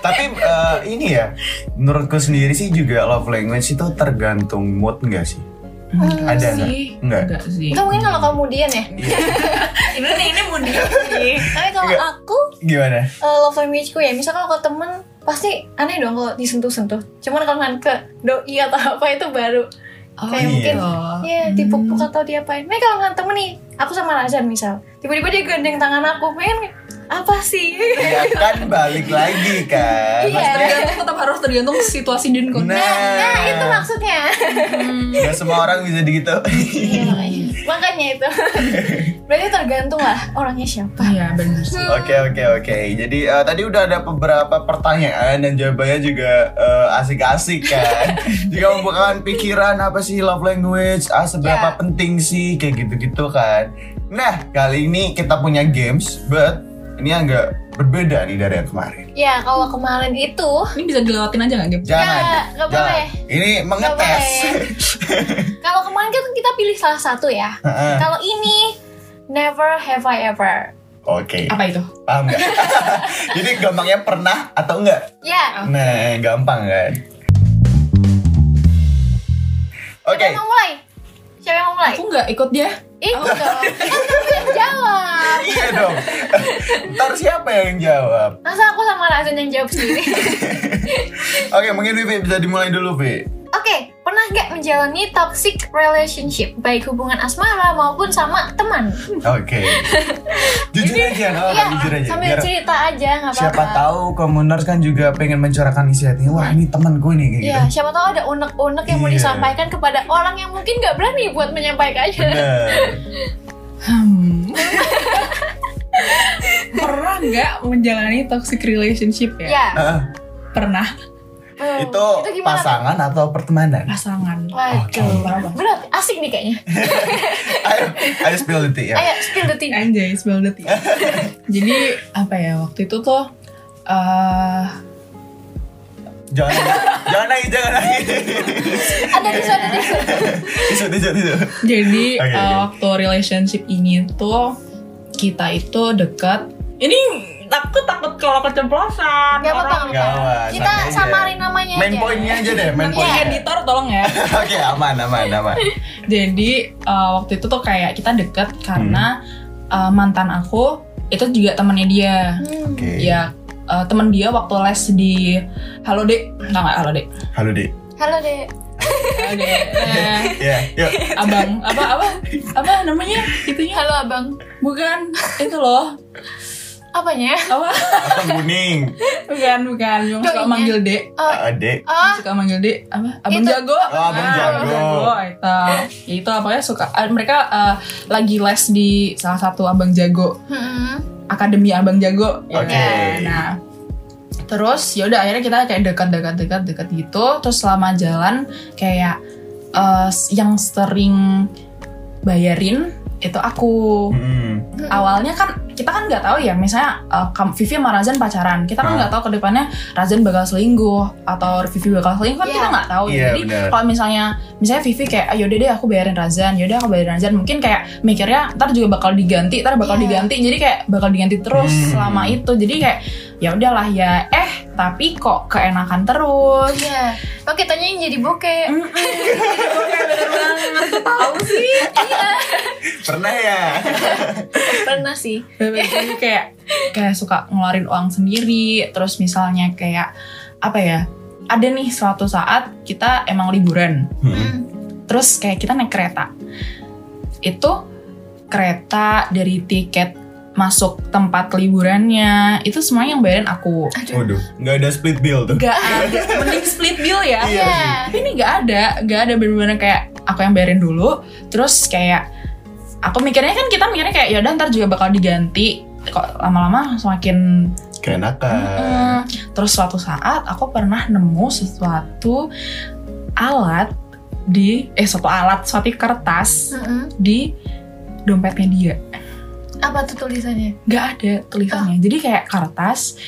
S2: Tapi uh, ini ya, menurutku sendiri sih juga love language itu tergantung mood nggak sih? Ada nggak?
S4: sih
S2: Nggak.
S4: enggak sih
S1: Nggak mungkin kalau kemudian ya
S4: ini ini mundur sih
S1: tapi kalau
S2: Nggak.
S1: aku
S2: Gimana?
S1: eh, love language ku ya misal kalau ke temen pasti aneh dong kalau disentuh-sentuh cuman kalau misalkan ke doi atau apa itu baru
S4: oh,
S1: Kayak
S2: mungkin-
S1: ya dipupuk atau diapain nah kalau misalkan temen nih aku sama Razan misal tiba-tiba dia gandeng tangan aku pengen apa sih
S2: Ya kan balik lagi kan.
S1: Iya.
S4: tergantung tetap harus tergantung situasi dan kondisi
S1: nah, nah itu maksudnya
S4: Hmm.
S2: Nggak semua orang bisa gitu.
S1: Iya, makanya. makanya itu berarti tergantung lah orangnya siapa
S4: Iya bener sih
S2: Oke oke oke. Jadi eh, tadi udah ada beberapa pertanyaan dan jawabannya juga eh, asik-asik kan. juga membukakan pikiran apa sih love language, ah
S1: Ya.
S2: seberapa penting sih kayak gitu-gitu kan. Nah kali ini kita punya games, but ini agak berbeda nih dari yang kemarin.
S1: ya kalau kemarin itu
S4: ini bisa dilewatin aja nggak Gem?
S2: Jangan,
S1: Nggak, nggak
S2: jangan.
S1: boleh.
S2: Ini mengetes.
S1: kalau kemarin kan kita pilih salah satu ya
S2: Heeh.
S1: kalau ini never have I ever
S2: Oke,
S4: apa itu
S2: paham nggak? Jadi gampangnya pernah atau enggak?
S1: ya
S2: Nah, gampang kan? Oke.
S1: siapa yang mau mulai siapa yang mau mulai
S4: aku nggak ikut dia
S1: itu dong kan kamu yang jawab
S2: Iya dong. Ntar siapa yang jawab?
S1: masa aku sama Razan yang jawab sendiri
S2: Oke, mungkin Vivi bisa dimulai dulu, Vi.
S1: Oke, pernah nggak menjalani toxic relationship baik hubungan asmara maupun sama teman? Iya,
S2: Oke. jujur aja, nggak apa-apa, jujur aja.
S1: sambil
S2: Biar
S1: cerita aja nggak apa-apa.
S2: siapa tahu komuners kan juga pengen mencurahkan isi hatinya. Wah, ini teman gue nih kayak
S1: Iya,
S2: gitu.
S1: siapa tahu ada unek-unek yang mau
S2: Iya.
S1: disampaikan kepada orang yang mungkin nggak berani buat menyampaikannya.
S2: Bener.
S4: Hmm. pernah nggak menjalani toxic relationship ya?
S1: Ya,
S2: Ah,
S4: Pernah
S1: Hmm,
S2: itu
S1: gimana?
S2: pasangan atau pertemanan?
S4: pasangan.
S1: Waduh,
S4: Parah banget.
S1: berat, asik nih kayaknya.
S2: ayo, ayo spill the tea ya.
S1: Ayo, spill the tea.
S4: Anjay, spill the tea. Jadi apa ya waktu itu tuh eh
S2: Jangan, jangan nangis, jangan nangis.
S1: Ada di sana di sana.
S2: Tisu, tisu, tisu.
S4: jadi
S2: Oke,
S4: eh,
S2: oke.
S4: waktu relationship ini tuh kita itu dekat. Ini takut takut kalau keceplosan.
S1: Gak apa-apa,
S4: Orang-
S1: nggak apa-apa.
S2: Gawat,
S1: Kita
S2: santai aja.
S1: samarin namanya
S2: Main
S1: aja.
S2: poinnya aja deh, main
S1: Iya.
S2: poinnya.
S4: Editor tolong ya.
S2: Oke, aman, aman, aman.
S4: Jadi uh, waktu itu tuh kayak kita deket karena
S2: Hmm.
S4: uh, mantan aku itu juga temennya dia.
S1: Hmm.
S2: Oke.
S4: Ya uh, temen dia waktu les di Halo Dek, nggak nggak Halo Dek,
S2: Halo, Dek.
S1: Halo deh.
S4: Halo Dek, Eh,
S2: Iya, yuk.
S4: Abang, apa apa apa namanya itunya?
S1: Halo abang.
S4: Bukan itu loh,
S1: Apanya? ya?
S4: apa?
S2: Apa kuning?
S4: Bukan bukan, cuma suka
S1: Doinya.
S4: manggil Dek.
S1: Oh,
S2: Adek.
S1: oh,
S4: suka manggil dek apa abang
S1: Itu.
S4: jago
S2: Oh, Abang Jago.
S4: itu Ya, itu apanya suka eh, mereka eh, lagi les di salah satu abang jago
S1: hmm.
S4: akademi abang jago ya
S2: Oke.
S4: kan? nah terus ya udah akhirnya kita kayak dekat-dekat dekat-dekat gitu terus selama jalan kayak eh, yang sering bayarin itu aku
S2: Hmm.
S4: awalnya kan kita kan nggak tahu ya misalnya uh, kam- Vivi sama Razan pacaran kita kan
S2: Ah.
S4: nggak tahu ke depannya Razan bakal selingkuh atau Vivi bakal selingkuh kan
S1: Iya.
S4: kita nggak tahu ya.
S2: Iya,
S4: jadi
S2: benar.
S4: kalau misalnya misalnya Vivi kayak ayo deh aku bayarin Razan yaudah aku bayarin Razan mungkin kayak mikirnya ntar juga bakal diganti ntar bakal
S1: Iya.
S4: diganti jadi kayak bakal diganti terus
S2: Hmm.
S4: selama itu jadi kayak ya udahlah ya eh tapi kok keenakan terus
S1: Iya. Oh kitanya yang jadi bokeh.
S4: tahu sih
S2: Pernah ya?
S1: Iya, Pernah sih.
S4: Jadi kayak kayak suka ngeluarin uang sendiri terus misalnya kayak apa ya ada nih suatu saat kita emang liburan
S1: Hmm.
S4: terus kayak kita naik kereta itu kereta dari tiket masuk tempat liburannya itu semuanya yang bayarin aku
S2: Waduh, nggak ada split bill tuh.
S4: Gak ada mending split bill ya
S2: Iya
S1: Iya.
S2: sih.
S4: tapi ini nggak ada nggak ada bener-bener kayak aku yang bayarin dulu terus kayak aku mikirnya kan kita mikirnya kayak yaudah ntar juga bakal diganti kok lama-lama semakin
S2: Keenakan.
S4: Mm. terus suatu saat aku pernah nemu sesuatu alat di eh suatu alat suatu kertas
S1: Mm-mm.
S4: di dompetnya dia
S1: Hmm. Apa tuh tulisannya?
S4: nggak ada tulisannya jadi kayak kertas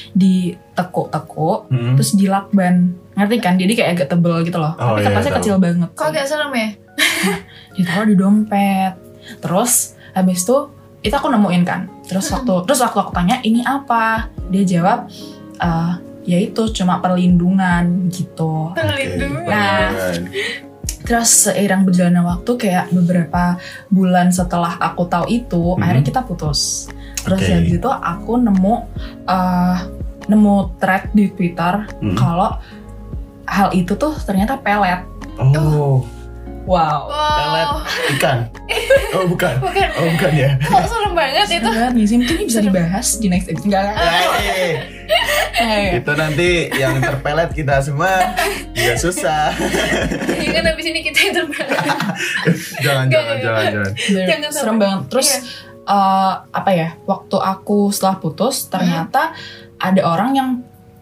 S4: ditekuk-tekuk
S2: Hmm.
S4: terus dilakban ngerti kan jadi kayak agak tebel gitu loh
S2: Oh, iya,
S4: tapi kertasnya
S2: tahu.
S4: kecil banget
S1: Kok agak serem ya?
S4: ditaruh di dompet terus habis itu itu aku nemuin kan terus waktu terus waktu aku tanya ini apa dia jawab "Eh, ya itu cuma perlindungan gitu
S1: Perlindungan.
S4: Nah.
S2: perlindungan.
S4: terus seiring berjalannya waktu kayak beberapa bulan setelah aku tahu itu
S2: Mhm.
S4: akhirnya kita putus terus
S2: Oke.
S4: habis itu aku nemu eh, nemu thread di twitter
S2: Hmm.
S4: kalau hal itu tuh ternyata pelet
S2: Oh,
S4: wow
S2: pelet
S1: Wow.
S2: ikan. Oh, bukan.
S1: Bukan.
S2: Oh, bukan ya.
S1: Kok serem banget itu?
S4: sih mungkin ini bisa dibahas di next episode enggak enggak,
S2: Hey,
S4: enggak.
S2: Eh, itu nanti yang terpelet kita semua juga susah.
S1: Jangan habis Iya, kan ini kita yang terbaik.
S2: Jangan,
S1: Nggak,
S2: jangan,
S1: nggak.
S2: jangan, jangan.
S4: Bener,
S1: Jangan sampai.
S4: serem banget. Terus
S1: Iya.
S4: eh, apa ya? Waktu aku setelah
S1: Iya.
S4: putus, ternyata ada orang yang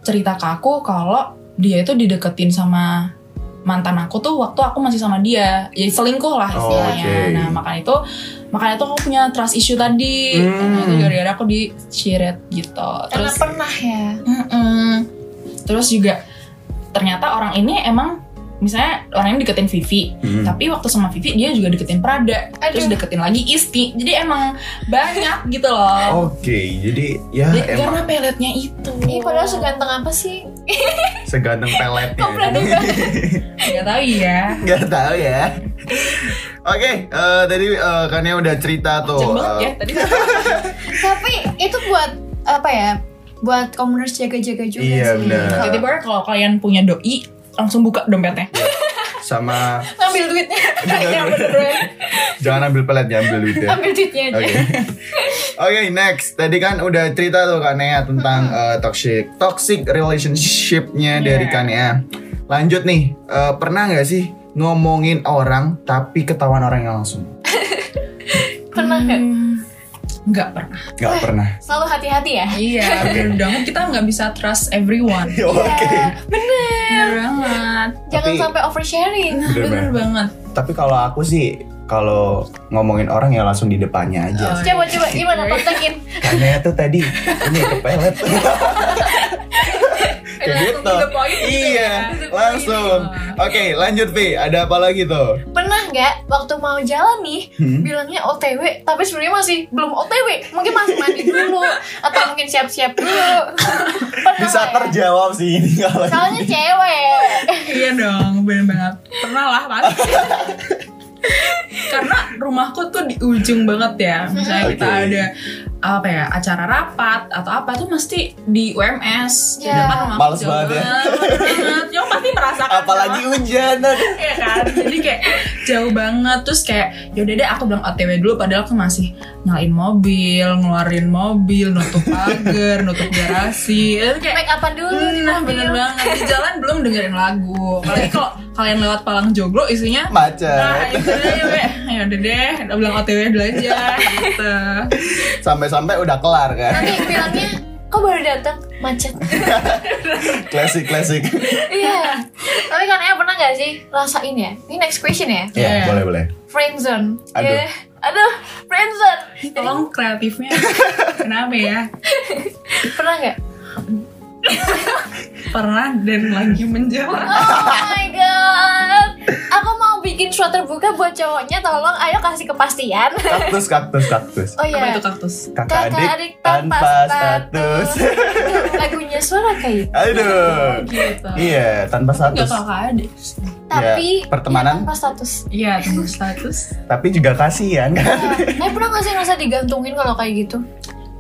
S4: cerita ke aku kalau dia itu dideketin sama mantan aku tuh waktu aku masih sama dia. Ya selingkuh lah
S2: Oh,
S4: istilahnya.
S2: oke.
S4: Nah, makanya itu makanya itu aku punya trust issue tadi.
S2: Hmm.
S4: Karena itu gara-gara aku diseret gitu.
S1: Karena
S4: Terus
S1: pernah ya.
S4: Mm-mm. Terus juga ternyata orang ini emang misalnya orang ini deketin Vivi,
S2: Hmm.
S4: tapi waktu sama Vivi dia juga deketin Prada, terus
S1: Aduh.
S4: deketin lagi Isti. Jadi emang banyak gitu loh.
S2: Oke, jadi ya
S4: Jadi
S2: Oh, emang
S4: karena peletnya itu.
S1: Ih, padahal seganteng apa sih?
S2: seganteng peletnya. ya.
S1: Kok beradu banget?
S4: Gak tahu ya.
S2: Gak tahu ya. Oke, eh, tadi eh, Kania udah cerita tuh.
S4: Jangan banget ya
S2: eh,
S4: tadi.
S1: Tapi itu buat apa ya? Buat komuners jaga-jaga juga
S2: Iya,
S1: sih.
S2: benar.
S1: Kalau-
S4: Tiba-tiba kalau kalian punya doi langsung buka dompetnya.
S2: sama
S1: Ngambil duitnya. Iya, bener-bener.
S2: jangan ambil pelet, jangan ambil duit ya.
S1: Ambil duitnya aja.
S2: Oke. Oke, next. Tadi kan udah cerita tuh Kanea tentang eh, toxic toxic relationship-nya dari Kanea. Lanjut nih, eh, pernah nggak sih ngomongin orang tapi ketahuan orangnya langsung?
S1: Pernah nggak?
S4: Enggak pernah.
S2: Nggak pernah.
S1: Selalu hati-hati ya.
S4: Iya, bener banget kita nggak bisa trust everyone.
S2: Oke.
S1: Iya, bener.
S4: Bener banget.
S1: Jangan
S2: Tapi-
S1: sampai oversharing.
S2: Bener
S4: Bener
S2: banget.
S4: banget.
S2: Tapi kalau aku sih kalau ngomongin orang ya langsung di depannya aja.
S4: Oh,
S1: Coba coba gimana kontakin?
S2: Karena tuh tadi ini kepelet. Kayak
S4: Langsung
S2: gitu.
S4: to the point gitu
S2: Iya,
S4: ya. To the point.
S2: langsung. Oke, lanjut Vi. Ada apa lagi tuh?
S1: Pernah nggak waktu mau jalan nih
S2: Hmm.
S1: bilangnya OTW tapi sebenarnya masih belum OTW mungkin masih mandi dulu atau mungkin siap-siap dulu. Pernah
S2: Bisa
S1: nggak ya?
S2: terjawab sih ini kalau
S1: Soalnya cewek.
S4: Iya dong, bener banget. Pernah lah pasti. Karena rumahku tuh di ujung banget ya. Misalnya kita
S2: Oke.
S4: ada apa ya acara rapat atau apa tuh mesti di UMS.
S1: Iya.
S4: Sedangkan kan rumahku
S2: Males
S4: jauh
S2: banget ya.
S4: banget, banget. Nyo pasti merasakan.
S2: apalagi
S4: sama,
S2: hujan. aduh.
S4: ya kan. Jadi kayak jauh banget terus kayak yaudah deh aku bilang OTW dulu padahal aku masih nyalain mobil, ngeluarin mobil, nutup pagar, nutup garasi. Itu kayak
S1: Eh, Make upan dulu
S2: Hmm,
S1: di
S4: Nah
S1: mobil.
S4: bener banget di jalan belum dengerin lagu apalagi kalau kalian lewat palang joglo isinya nah
S2: Macet.
S4: itu deh we. ya udah deh udah bilang otw belanja gitu
S2: Sampai-sampai udah kelar kan.
S1: Nanti bilangnya kok baru datang macet.
S2: Klasik, klasik.
S1: Iya. Tapi kan Ea pernah nggak sih rasain ya? Ini next question ya.
S2: Iya,
S4: Iya.
S2: boleh, boleh.
S1: Friendzone.
S2: Aduh.
S1: Ya. Aduh, friendzone.
S4: tolong kreatifnya kenapa ya
S1: Pernah nggak?
S4: pernah dan lagi menjawab
S1: Oh my god. Oh Aku mau bikin bikin surat terbuka buat cowoknya tolong ayo kasih kepastian.
S2: kaktus kaktus kaktus
S1: Oh
S4: Apa
S1: iya.
S4: itu kan? kaktus?
S2: kakak adik tanpa status
S1: Lagunya suara kayak
S2: aduh
S4: Gitu.
S2: iya tanpa
S4: Gak
S2: status
S4: kakak adik.
S1: tapi
S2: pertemanan.
S1: ya, tanpa status.
S4: Iya, tunggu status.
S2: tapi juga kasihan kan
S1: Nah, pernah gak sih ngerasa digantungin kalau kayak gitu?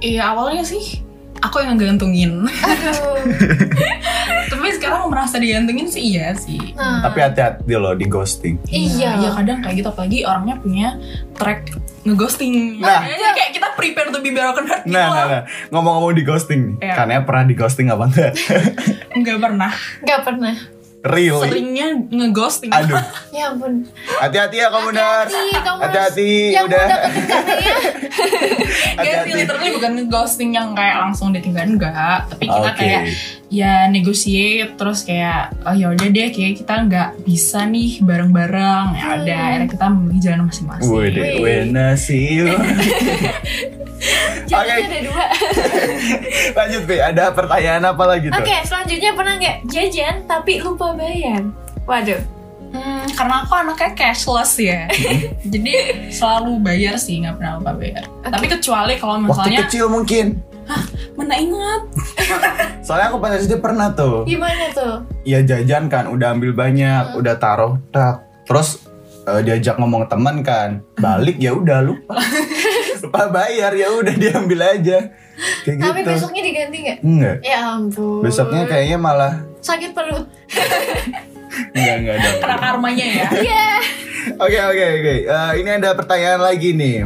S4: Iya, awalnya sih aku yang ngegantungin.
S1: Aduh.
S4: Tapi sekarang merasa digantungin sih iya sih.
S1: Nah,
S2: tapi hati-hati loh di ghosting
S1: Iya.
S4: Iya, kadang kayak gitu apalagi orangnya punya track ngeghosting.
S2: Nah.
S4: Jadi kayak kita prepare to be broken heart gitu
S2: nah
S1: Iya.
S2: nah
S4: loh.
S2: nah ngomong-ngomong di ghosting nih
S4: Iya.
S2: karena pernah di ghosting apa enggak nah.
S4: Nggak pernah.
S1: nggak pernah.
S2: really
S4: Seringnya ngeghosting.
S2: aduh
S1: Ya ampun.
S2: hati-hati ya kamu nerds
S1: Hati, kamu harus-
S2: hati-hati
S1: yang
S2: udah
S1: udah kedekat ya.
S4: Gak sih,
S2: hati-hati
S4: literally bukan ngeghosting yang kayak langsung ditinggal enggak, tapi kita
S2: Oke.
S4: kayak ya negotiate terus kayak oh ya udah deh kayak kita nggak bisa nih bareng-bareng ya
S1: Hmm.
S4: ada akhirnya kita memilih jalan masing-masing.
S2: Wede, when I see you.
S1: Jadi
S2: Oke. Gitu.
S1: ada dua.
S2: Lanjut Be, ada pertanyaan apa lagi tuh?
S1: Oke, selanjutnya pernah nggak jajan tapi lupa bayar? Waduh.
S4: Hmm, karena aku anaknya cashless ya,
S2: Mm-hmm.
S4: jadi selalu bayar sih nggak pernah lupa bayar. Tapi kecuali kalau
S2: Waktu
S4: misalnya
S2: kecil mungkin.
S4: mana ingat
S2: Soalnya aku pas SD pernah tuh.
S1: Gimana tuh?
S2: Iya jajan kan, udah ambil
S1: Hmm.
S2: banyak, udah taruh, tak. Terus eh, diajak ngomong ke teman kan, balik ya udah lupa. lupa bayar ya udah diambil aja. Kayak
S1: Tapi
S2: gitu.
S1: besoknya diganti nggak?
S2: Enggak.
S1: Ya ampun.
S2: Besoknya kayaknya malah
S1: sakit perut.
S2: enggak enggak ada.
S4: karena karmanya ya.
S2: Oke oke oke. Eh, ini ada pertanyaan lagi nih.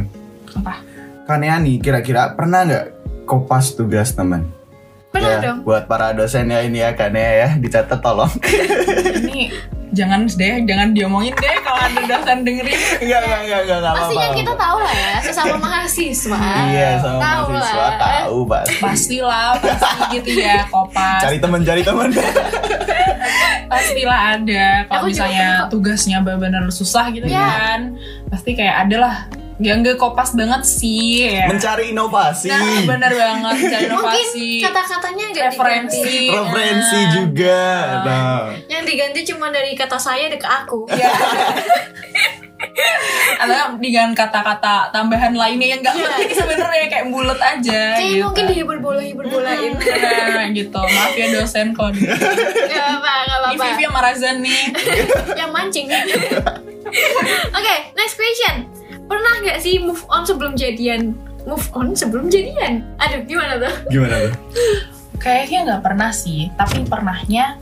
S4: Apa?
S2: Kaneani kira-kira pernah nggak kopas tugas teman?
S1: Pernah
S2: Ya,
S1: dong.
S2: Buat para dosen ya ini ya Kanea ya dicatat tolong.
S4: Ini jangan deh, jangan diomongin deh kalau ada dosen dengerin.
S2: Enggak enggak enggak enggak enggak apa-apa.
S1: Pastinya kan kita tahu lah ya, sesama mahasiswa.
S2: Iya sama
S1: Tahu
S2: mahasiswa
S1: lah.
S2: tahu pak.
S4: Pastilah, pasti gitu ya, kopas.
S2: Cari teman cari teman.
S4: pastilah ada
S1: Aku
S4: kalau
S1: juga pernah
S4: misalnya
S1: kok.
S4: tugasnya benar-benar susah gitu
S1: Ya.
S4: kan pasti kayak ada lah ya nggak kopas banget sih ya.
S2: Mencari inovasi.
S4: nah benar banget mencari
S1: Mungkin
S4: inovasi
S1: kata-katanya nggak
S4: referensi ya.
S1: diganti.
S2: Referensi juga. Iya. Nah.
S1: Yang diganti cuma dari kata saya ke aku.
S4: ya. atau dengan kata-kata tambahan lainnya yang nggak
S1: Iya.
S4: penting sebenarnya kayak bulat aja
S1: Kayaknya
S4: gitu.
S1: mungkin dihibur bola-hibur bolain.
S4: Nah, gitu maaf ya dosen kalau di
S1: Gak apa-apa, gak
S4: ini
S1: apa-apa.
S4: Vivi sama Razan nih
S1: Yang mancing. Oke, next question. Pernah nggak sih move on sebelum jadian? Move on sebelum jadian? Aduh, gimana tuh?
S2: Gimana tuh?
S4: kayaknya nggak pernah sih tapi pernahnya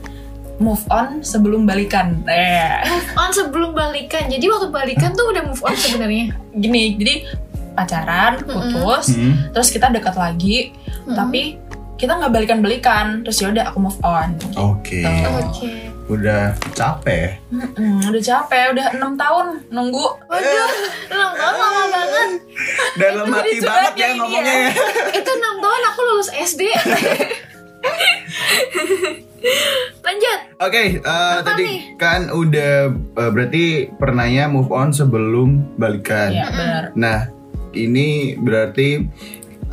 S4: move on sebelum balikan eh
S1: On sebelum balikan. Jadi waktu balikan tuh udah move on sebenarnya.
S4: gini jadi pacaran putus
S2: Hmm.
S4: terus kita dekat lagi
S1: Mm-mm.
S4: tapi kita nggak balikan balikan terus yaudah aku move on
S2: Oke.
S4: Tuh.
S1: Oke.
S2: Udah capek.
S4: Mm-mm, udah capek udah enam tahun nunggu
S1: Waduh,
S4: Eh.
S1: enam tahun lama banget.
S2: Dalam hati
S4: curhat
S2: banget ya
S4: ya ini
S2: ngomongnya.
S4: ya.
S2: ya.
S1: Itu enam tahun aku lulus SD. Lanjut.
S2: Oke, eh,
S1: nih?
S2: tadi kan udah eh, berarti pernahnya move on sebelum balikan.
S4: ya benar
S2: Nah, ini berarti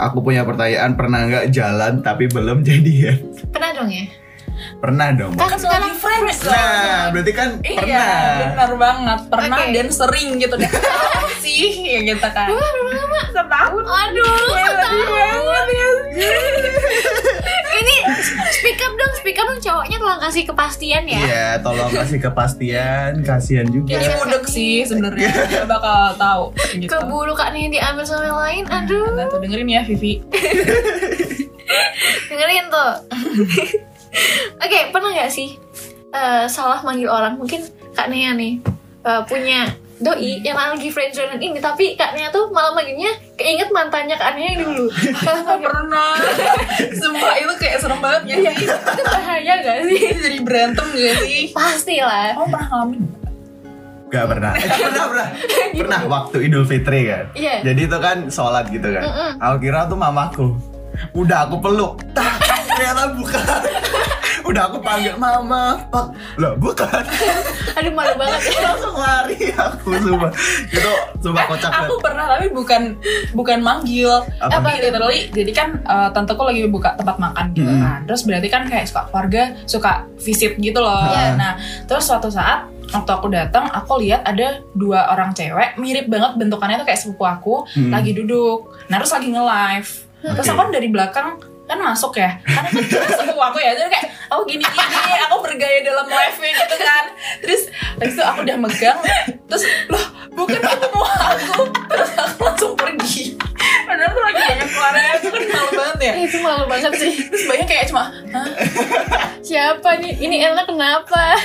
S2: aku punya pertanyaan pernah nggak jalan tapi belum jadian?
S1: Pernah dong ya?
S2: Pernah dong. Mbak.
S1: Kan sekarang
S4: friends
S2: Nah, berarti kan
S4: Iya,
S2: pernah.
S4: benar banget. Pernah
S1: Oke.
S4: dan sering gitu deh. Apa sih ya gitu kan. Setahun.
S1: Aduh,
S4: Iya, sedih banget ya.
S1: ini speak up dong, speak up dong cowoknya tolong kasih kepastian ya.
S2: Iya, tolong kasih kepastian, kasihan juga.
S4: Ini mudek sih sebenarnya. Nggak bakal tahu gitu.
S1: Keburu Kak Nia diambil sama yang lain. Aduh,
S4: Nah, tuh dengerin ya Vivi.
S1: dengerin tuh. Oke, pernah nggak sih eh, salah manggil orang? Mungkin Kak Nia nih eh, punya doi yang lagi friendzone ini tapi Kak Nia tuh malah manggilnya keinget mantannya Kak Nia yang dulu. Salah
S4: Gak
S1: manggil.
S4: pernah Sumpah itu kayak serem banget ya sih
S1: Itu bahaya gak sih?
S4: Jadi berantem gak sih?
S1: Pasti lah.
S4: Kamu Oh, pernah ngalamin?
S2: Gak pernah. Eh, pernah, pernah. Pernah waktu Idul Fitri kan.
S1: Iya.
S2: Jadi itu kan sholat gitu kan.
S1: Mm-mm.
S2: Aku kira tuh mamaku. Udah aku peluk. Tah, ternyata bukan. Udah aku panggil mama, pak. Loh, bukan.
S1: Aduh malu banget.
S2: Langsung lari aku sumpah. Itu sumpah kocak banget.
S4: Eh, Aku pernah tapi bukan bukan manggil
S2: Apa?
S4: Tapi literally jadi kan eh, tanteku lagi buka tempat makan gitu
S2: Hmm.
S4: kan Terus berarti kan kayak suka keluarga suka visit gitu loh
S2: Iya.
S4: Nah terus suatu saat waktu aku datang aku lihat ada dua orang cewek mirip banget bentukannya tuh kayak sepupu aku
S2: Hmm.
S4: lagi duduk nah terus lagi nge-live terus
S2: Oke.
S4: aku kan dari belakang kan masuk ya karena kan kita sepupu aku ya jadi kayak aku gini gini aku bergaya dalam live nya gitu kan terus habis itu aku udah megang terus loh bukan ketemu aku terus aku langsung pergi padahal tuh lagi banyak suara aku kan malu banget ya
S1: itu malu banget sih
S4: terus banyak kayak cuma "Hah?
S1: siapa nih ini Ella kenapa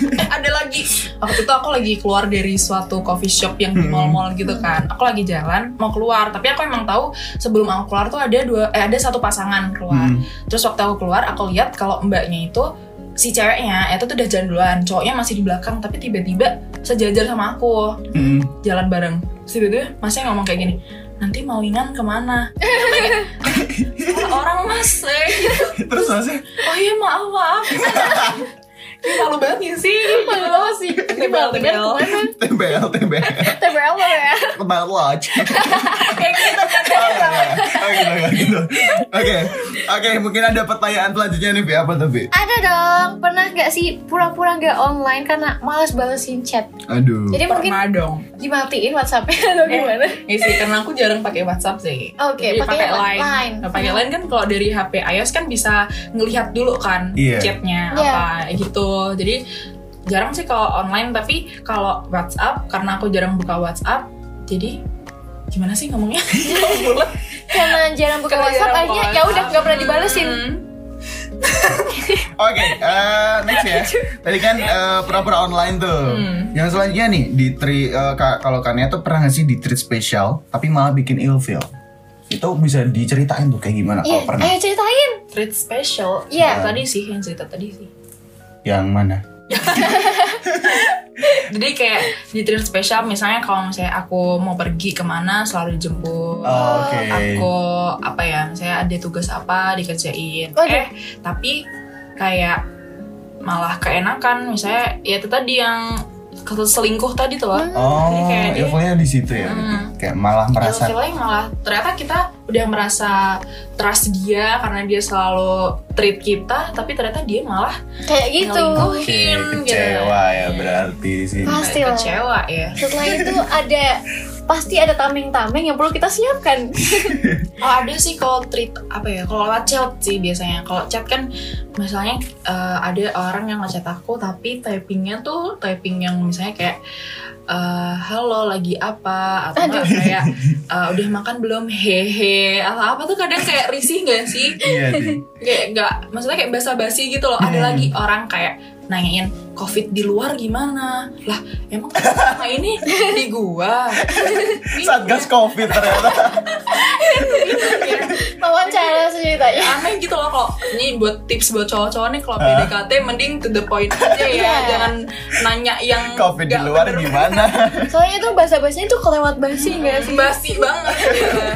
S4: Eh, ada lagi waktu itu aku lagi keluar dari suatu coffee shop yang di
S2: Hmm.
S4: mall-mall gitu kan aku lagi jalan mau keluar tapi aku emang tahu sebelum aku keluar tuh ada dua eh, ada satu pasangan keluar
S2: Hmm.
S4: terus waktu aku keluar aku lihat kalau mbaknya itu si ceweknya ya itu tuh udah jalan duluan cowoknya masih di belakang tapi tiba-tiba sejajar sama aku
S2: Hmm.
S4: jalan bareng Terus tiba-tiba masnya ngomong kayak gini nanti mau ingan kemana Salah orang mas eh, gitu.
S2: Terus masih
S4: oh iya maaf maaf Ih, malu banget ya sih
S1: malu banget sih ini malu banget
S4: Tebel.
S1: kemana
S2: tembel tembel
S1: TBL lo ya
S2: tebal watch.
S4: kayak gitu
S2: Oke, oke, gitu. Oke, oke. Mungkin ada pertanyaan selanjutnya nih, Bi. Apa tuh, Bi?
S1: ada dong pernah nggak sih pura-pura nggak online karena malas balesin chat
S2: Aduh.
S1: jadi mungkin
S4: pernah dong
S1: dimatiin WhatsAppnya atau gimana
S4: ya sih karena aku jarang pakai WhatsApp sih
S1: Oke,
S4: Jadi
S1: pakai
S4: pakai
S1: Line. Iya.
S4: Line Nah, pakai Line kan kalau dari HP iOS kan bisa ngelihat dulu kan
S2: Iya.
S4: chatnya
S1: Iya.
S4: apa gitu jadi jarang sih kalau online tapi kalau WhatsApp karena aku jarang buka WhatsApp jadi gimana sih ngomongnya bulat
S1: karena jarang buka
S4: Karena
S1: WhatsApp
S4: jarang buka
S1: akhirnya ya udah
S4: WhatsApp.
S1: nggak pernah dibalesin
S4: Kan Hmm.
S2: Oke, eh, next ya. Tadi kan eh, pura-pura online tuh.
S4: Hmm.
S2: Yang selanjutnya nih, di tri eh, ka- kalau Kania tuh pernah nggak sih di treat spesial, tapi malah bikin ilfeel. Itu bisa diceritain tuh kayak gimana
S1: iya
S2: kalau Oh, pernah.
S4: eh.
S1: ayo ceritain
S4: treat special
S1: Iya.
S4: tadi sih yang cerita tadi sih
S2: Yang mana?
S4: jadi kayak di treat special misalnya kalau misalnya aku mau pergi kemana selalu dijemput
S2: Oh, Oke.
S4: aku apa ya saya ada tugas apa dikerjain
S1: Waduh.
S4: eh tapi kayak malah keenakan misalnya ya itu tadi yang selingkuh tadi tuh loh
S2: Oh,
S4: Jadi kayak dia-
S2: ilfeelnya di situ ya.
S4: Hmm.
S2: Kayak malah merasa.
S4: Ilfeel lain malah ternyata kita udah merasa trust dia karena dia selalu treat kita tapi ternyata dia malah
S1: kayak gitu
S2: Oke,
S4: Ngelingkuh. Mungkin, gitu.
S2: kecewa ya berarti di sini.
S4: Ah.
S1: Pasti lah.
S4: kecewa ya
S1: setelah itu ada pasti ada tameng-tameng yang perlu kita siapkan
S4: Oh ada sih kalau treat apa ya kalau lewat chat sih biasanya kalau chat kan misalnya eh, ada orang yang ngechat aku tapi typingnya tuh typing yang misalnya kayak eh, halo lagi apa atau enggak kayak eh, udah makan belum hehe atau apa tuh kadang kayak risih gak sih
S2: Iya, Di.
S4: kayak nggak maksudnya kayak basa-basi gitu loh ada
S2: Hmm.
S4: lagi orang kayak nanyain covid di luar gimana lah emang sama ini di gua
S2: Satgas Covid ternyata.
S1: wawancara ceritanya
S4: aneh gitu loh kalau ini buat tips buat cowok-cowok nih kalau PDKT mending to the point aja
S1: Iya.
S4: ya jangan nanya yang
S2: Covid di
S4: Hmm. nggak
S2: luar
S4: bener-
S2: gimana?
S1: soalnya itu bahasa bahasanya tuh kelewat basi nggak sih
S4: basi banget ya.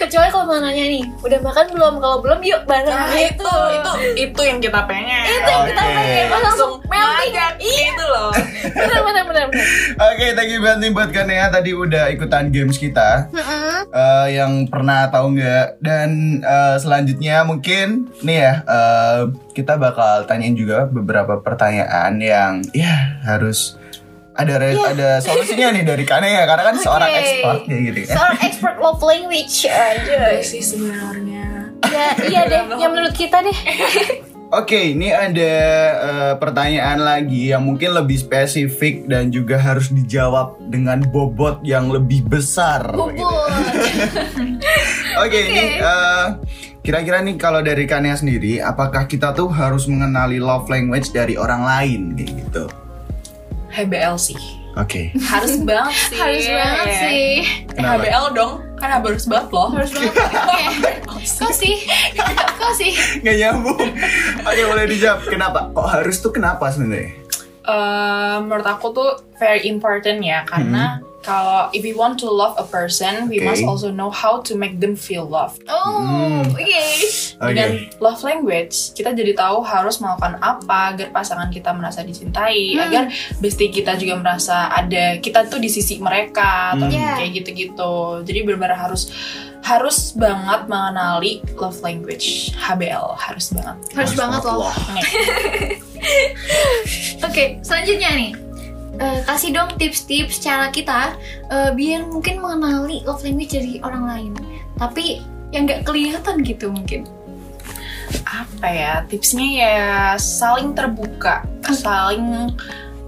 S1: kecuali kalau mau nanya nih udah makan belum kalau belum yuk bareng Gitu.
S4: nah itu itu itu yang kita pengen
S1: itu yang kita
S2: Oke.
S1: pengen langsung melting Iya.
S4: ngajak gitu loh
S1: benar benar benar benar
S2: Oke, thank you banget nih buat Kanea tadi udah ikutan games kita
S1: Mm-mm.
S2: eh, yang pernah tahu nggak dan eh, selanjutnya mungkin nih ya eh, kita bakal tanyain juga beberapa pertanyaan yang ya harus ada re- ada solusinya nih dari Kanea karena kan seorang
S1: Iya. Oke.
S2: expert ya gitu kan.
S1: seorang expert love language aja
S4: Apa sih sebenarnya
S1: ya iya deh yang menurut kita deh
S4: Iya.
S2: Oke, ini ada eh, pertanyaan lagi yang mungkin lebih spesifik dan juga harus dijawab dengan bobot yang lebih besar. gitu.
S1: bubur
S2: Oke, ini eh, kira-kira nih kalau dari Kania sendiri, apakah kita tuh harus mengenali love language dari orang lain kayak gitu?
S4: HBL sih
S2: Oke.
S4: harus banget sih
S1: harus banget
S4: Ya.
S1: sih
S4: Eh,
S2: Kenapa?
S4: HBL dong kan harus banget loh
S1: harus banget oke kok sih kok sih
S2: Nggak nyambung. Oke, boleh dijawab. Kenapa? Kok harus tuh kenapa sebenarnya?
S4: Eh, menurut aku tuh very important ya
S2: Hmm.
S4: karena kalau if we want to love a person, we
S2: Oke.
S4: must also know how to make them feel loved.
S1: oh oke
S2: Oke.
S4: Dengan love language, kita jadi tahu harus melakukan apa agar pasangan kita merasa dicintai,
S1: Hmm.
S4: agar bestie kita juga merasa ada kita tuh di sisi mereka atau
S2: Hmm.
S1: Yeah.
S4: kayak gitu-gitu. Jadi benar-benar harus harus banget mengenali love language HBL harus banget.
S1: harus banget loh
S2: loh.
S1: Oke, selanjutnya nih. Eh, kasih dong tips-tips cara kita eh, biar mungkin mengenali love language dari orang lain tapi yang nggak kelihatan gitu mungkin
S4: apa ya tipsnya ya saling terbuka
S2: Hmm.
S4: saling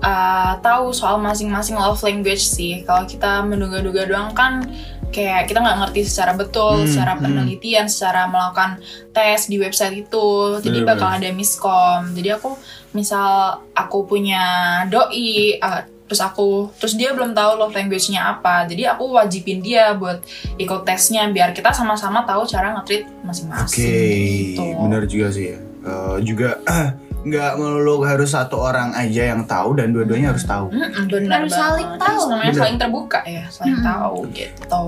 S4: uh, tahu soal masing-masing love language sih kalau kita menduga-duga doang kan kayak kita nggak ngerti secara betul
S2: Hmm,
S4: secara
S2: hmm.
S4: penelitian secara melakukan tes di website itu jadi
S2: Bener-bener.
S4: bakal ada miskom jadi aku misal aku punya doi uh, terus aku terus dia belum tahu love language-nya apa jadi aku wajibin dia buat ikut tesnya biar kita sama-sama tahu cara nge-treat
S2: Oke,
S4: masing-masing gitu.
S2: benar juga sih ya. Eh, juga nggak melulu harus satu orang aja yang tahu dan dua-duanya harus tahu.
S4: Mm-mm,
S1: Harus
S4: benar banget.
S1: saling
S4: Itu
S1: tahu.
S4: namanya
S2: Benar.
S4: saling terbuka ya saling
S1: Mm-mm.
S4: tahu gitu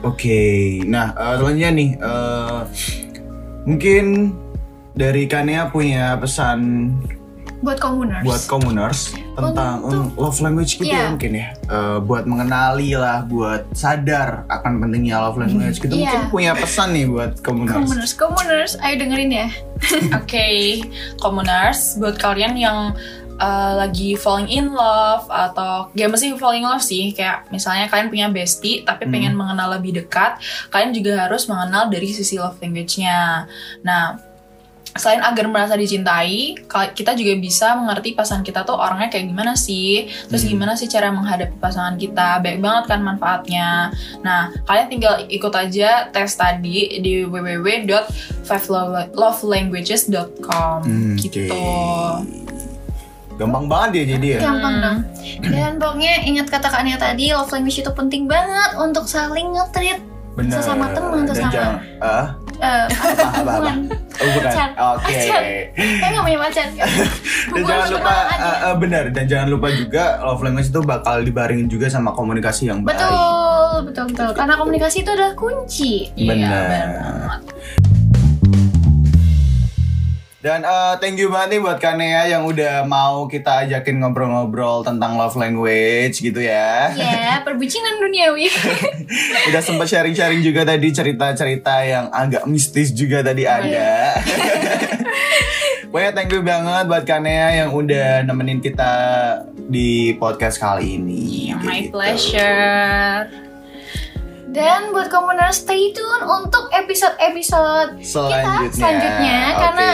S2: Oke, nah eh, selanjutnya nih, eh, mungkin dari Kanea punya pesan
S1: buat komuners
S2: buat commoners tentang
S1: Untuk-
S2: mm, love language gitu
S1: Oh, Iya.
S2: ya mungkin ya, Eh, buat mengenali lah, buat sadar akan pentingnya love language gitu.
S1: Iya.
S2: Mungkin punya pesan nih buat commoners.
S1: komuners komuners ayo dengerin ya
S4: oke commoners buat kalian yang uh, lagi falling in love atau gak mesti falling in love sih kayak misalnya kalian punya bestie tapi pengen mengenal lebih dekat kalian juga harus mengenal dari sisi love language-nya nah selain agar merasa dicintai, ka- kita juga bisa mengerti pasangan kita tuh orangnya kayak gimana sih, terus
S2: Hmm.
S4: gimana sih cara menghadapi pasangan kita, baik banget kan manfaatnya. Nah, kalian tinggal ikut aja tes tadi di www.fivelovelanguages.com
S2: Hmm,
S4: gitu.
S2: oke. Gampang banget ya jadi ya.
S1: gampang
S4: Hmm.
S1: dong dan pokoknya ingat kata kakaknya tadi love language itu penting banget untuk saling nge-treat
S2: Bener.
S1: Sesama teman,
S2: Dan
S1: sesama-
S2: jangan- ah?
S1: eh,
S2: apa apa apa
S1: hubungan
S2: oh bukan
S1: Macan.
S2: oke
S1: Macan. saya nggak punya macan
S2: dan
S1: Hubungan untuk
S2: jangan lupa
S1: kenalan aja.
S2: eh, eh, benar dan jangan lupa juga love language itu bakal dibarengin juga sama komunikasi yang baik ah,
S1: betul
S2: iya.
S1: betul betul karena komunikasi itu adalah kunci
S4: Iya,
S2: Benar.
S4: benar banget.
S2: dan eh, thank you banget nih buat Kanea yang udah mau kita ajakin ngobrol-ngobrol tentang love language gitu ya
S1: ya
S4: Iya.
S1: perbucinan duniawi
S2: udah sempat sharing-sharing juga tadi cerita-cerita yang agak mistis juga tadi
S4: Iya.
S2: ada. Pokoknya thank you banget buat Kanea yang udah nemenin kita di podcast kali ini.
S4: My
S2: Gitu.
S4: pleasure.
S1: dan buat komuners stay tune untuk episode-episode kita
S2: Selanjutnya.
S1: selanjutnya
S2: Oke.
S1: karena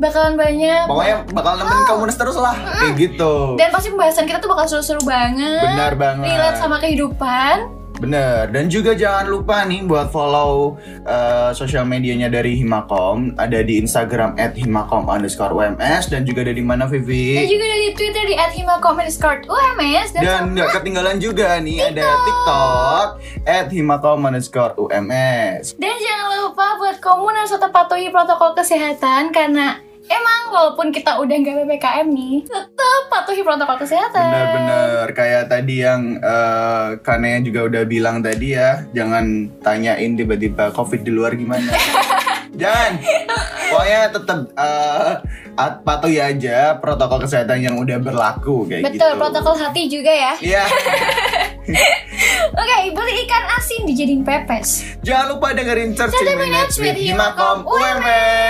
S1: bakalan banyak
S2: Pokoknya bakal nemenin kamu terus lah, Oh. kayak gitu.
S1: dan pasti pembahasan kita tuh bakal seru-seru banget
S2: Benar banget.
S1: relate sama kehidupan
S2: Bener, dan juga jangan lupa nih buat follow uh, sosial medianya dari Himakom Ada di Instagram at Himakom underscore UMS Dan juga ada di mana Vivi?
S1: dan juga dari twitter di @himakomedscored_ums dan,
S2: Dan
S1: sama
S2: nggak ketinggalan juga nih ada TikTok at himakom underscore UMS.
S1: dan jangan lupa buat komuners tetap patuhi protokol kesehatan karena emang walaupun kita udah nggak ppkm nih tetap patuhi protokol kesehatan
S2: Benar-benar kayak tadi yang eh, Kanea juga udah bilang tadi ya, jangan tanyain tiba-tiba COVID di luar gimana. Jangan, pokoknya tetap eh, at- patuhi aja protokol kesehatan yang udah berlaku kayak gitu.
S1: betul protokol hati juga ya
S2: Iya,
S1: oke beli ikan asin dijadiin pepes
S2: jangan lupa dengerin Church
S1: Cermin
S2: Minutes
S1: with
S2: with Himakom
S1: Himakom
S2: UMS.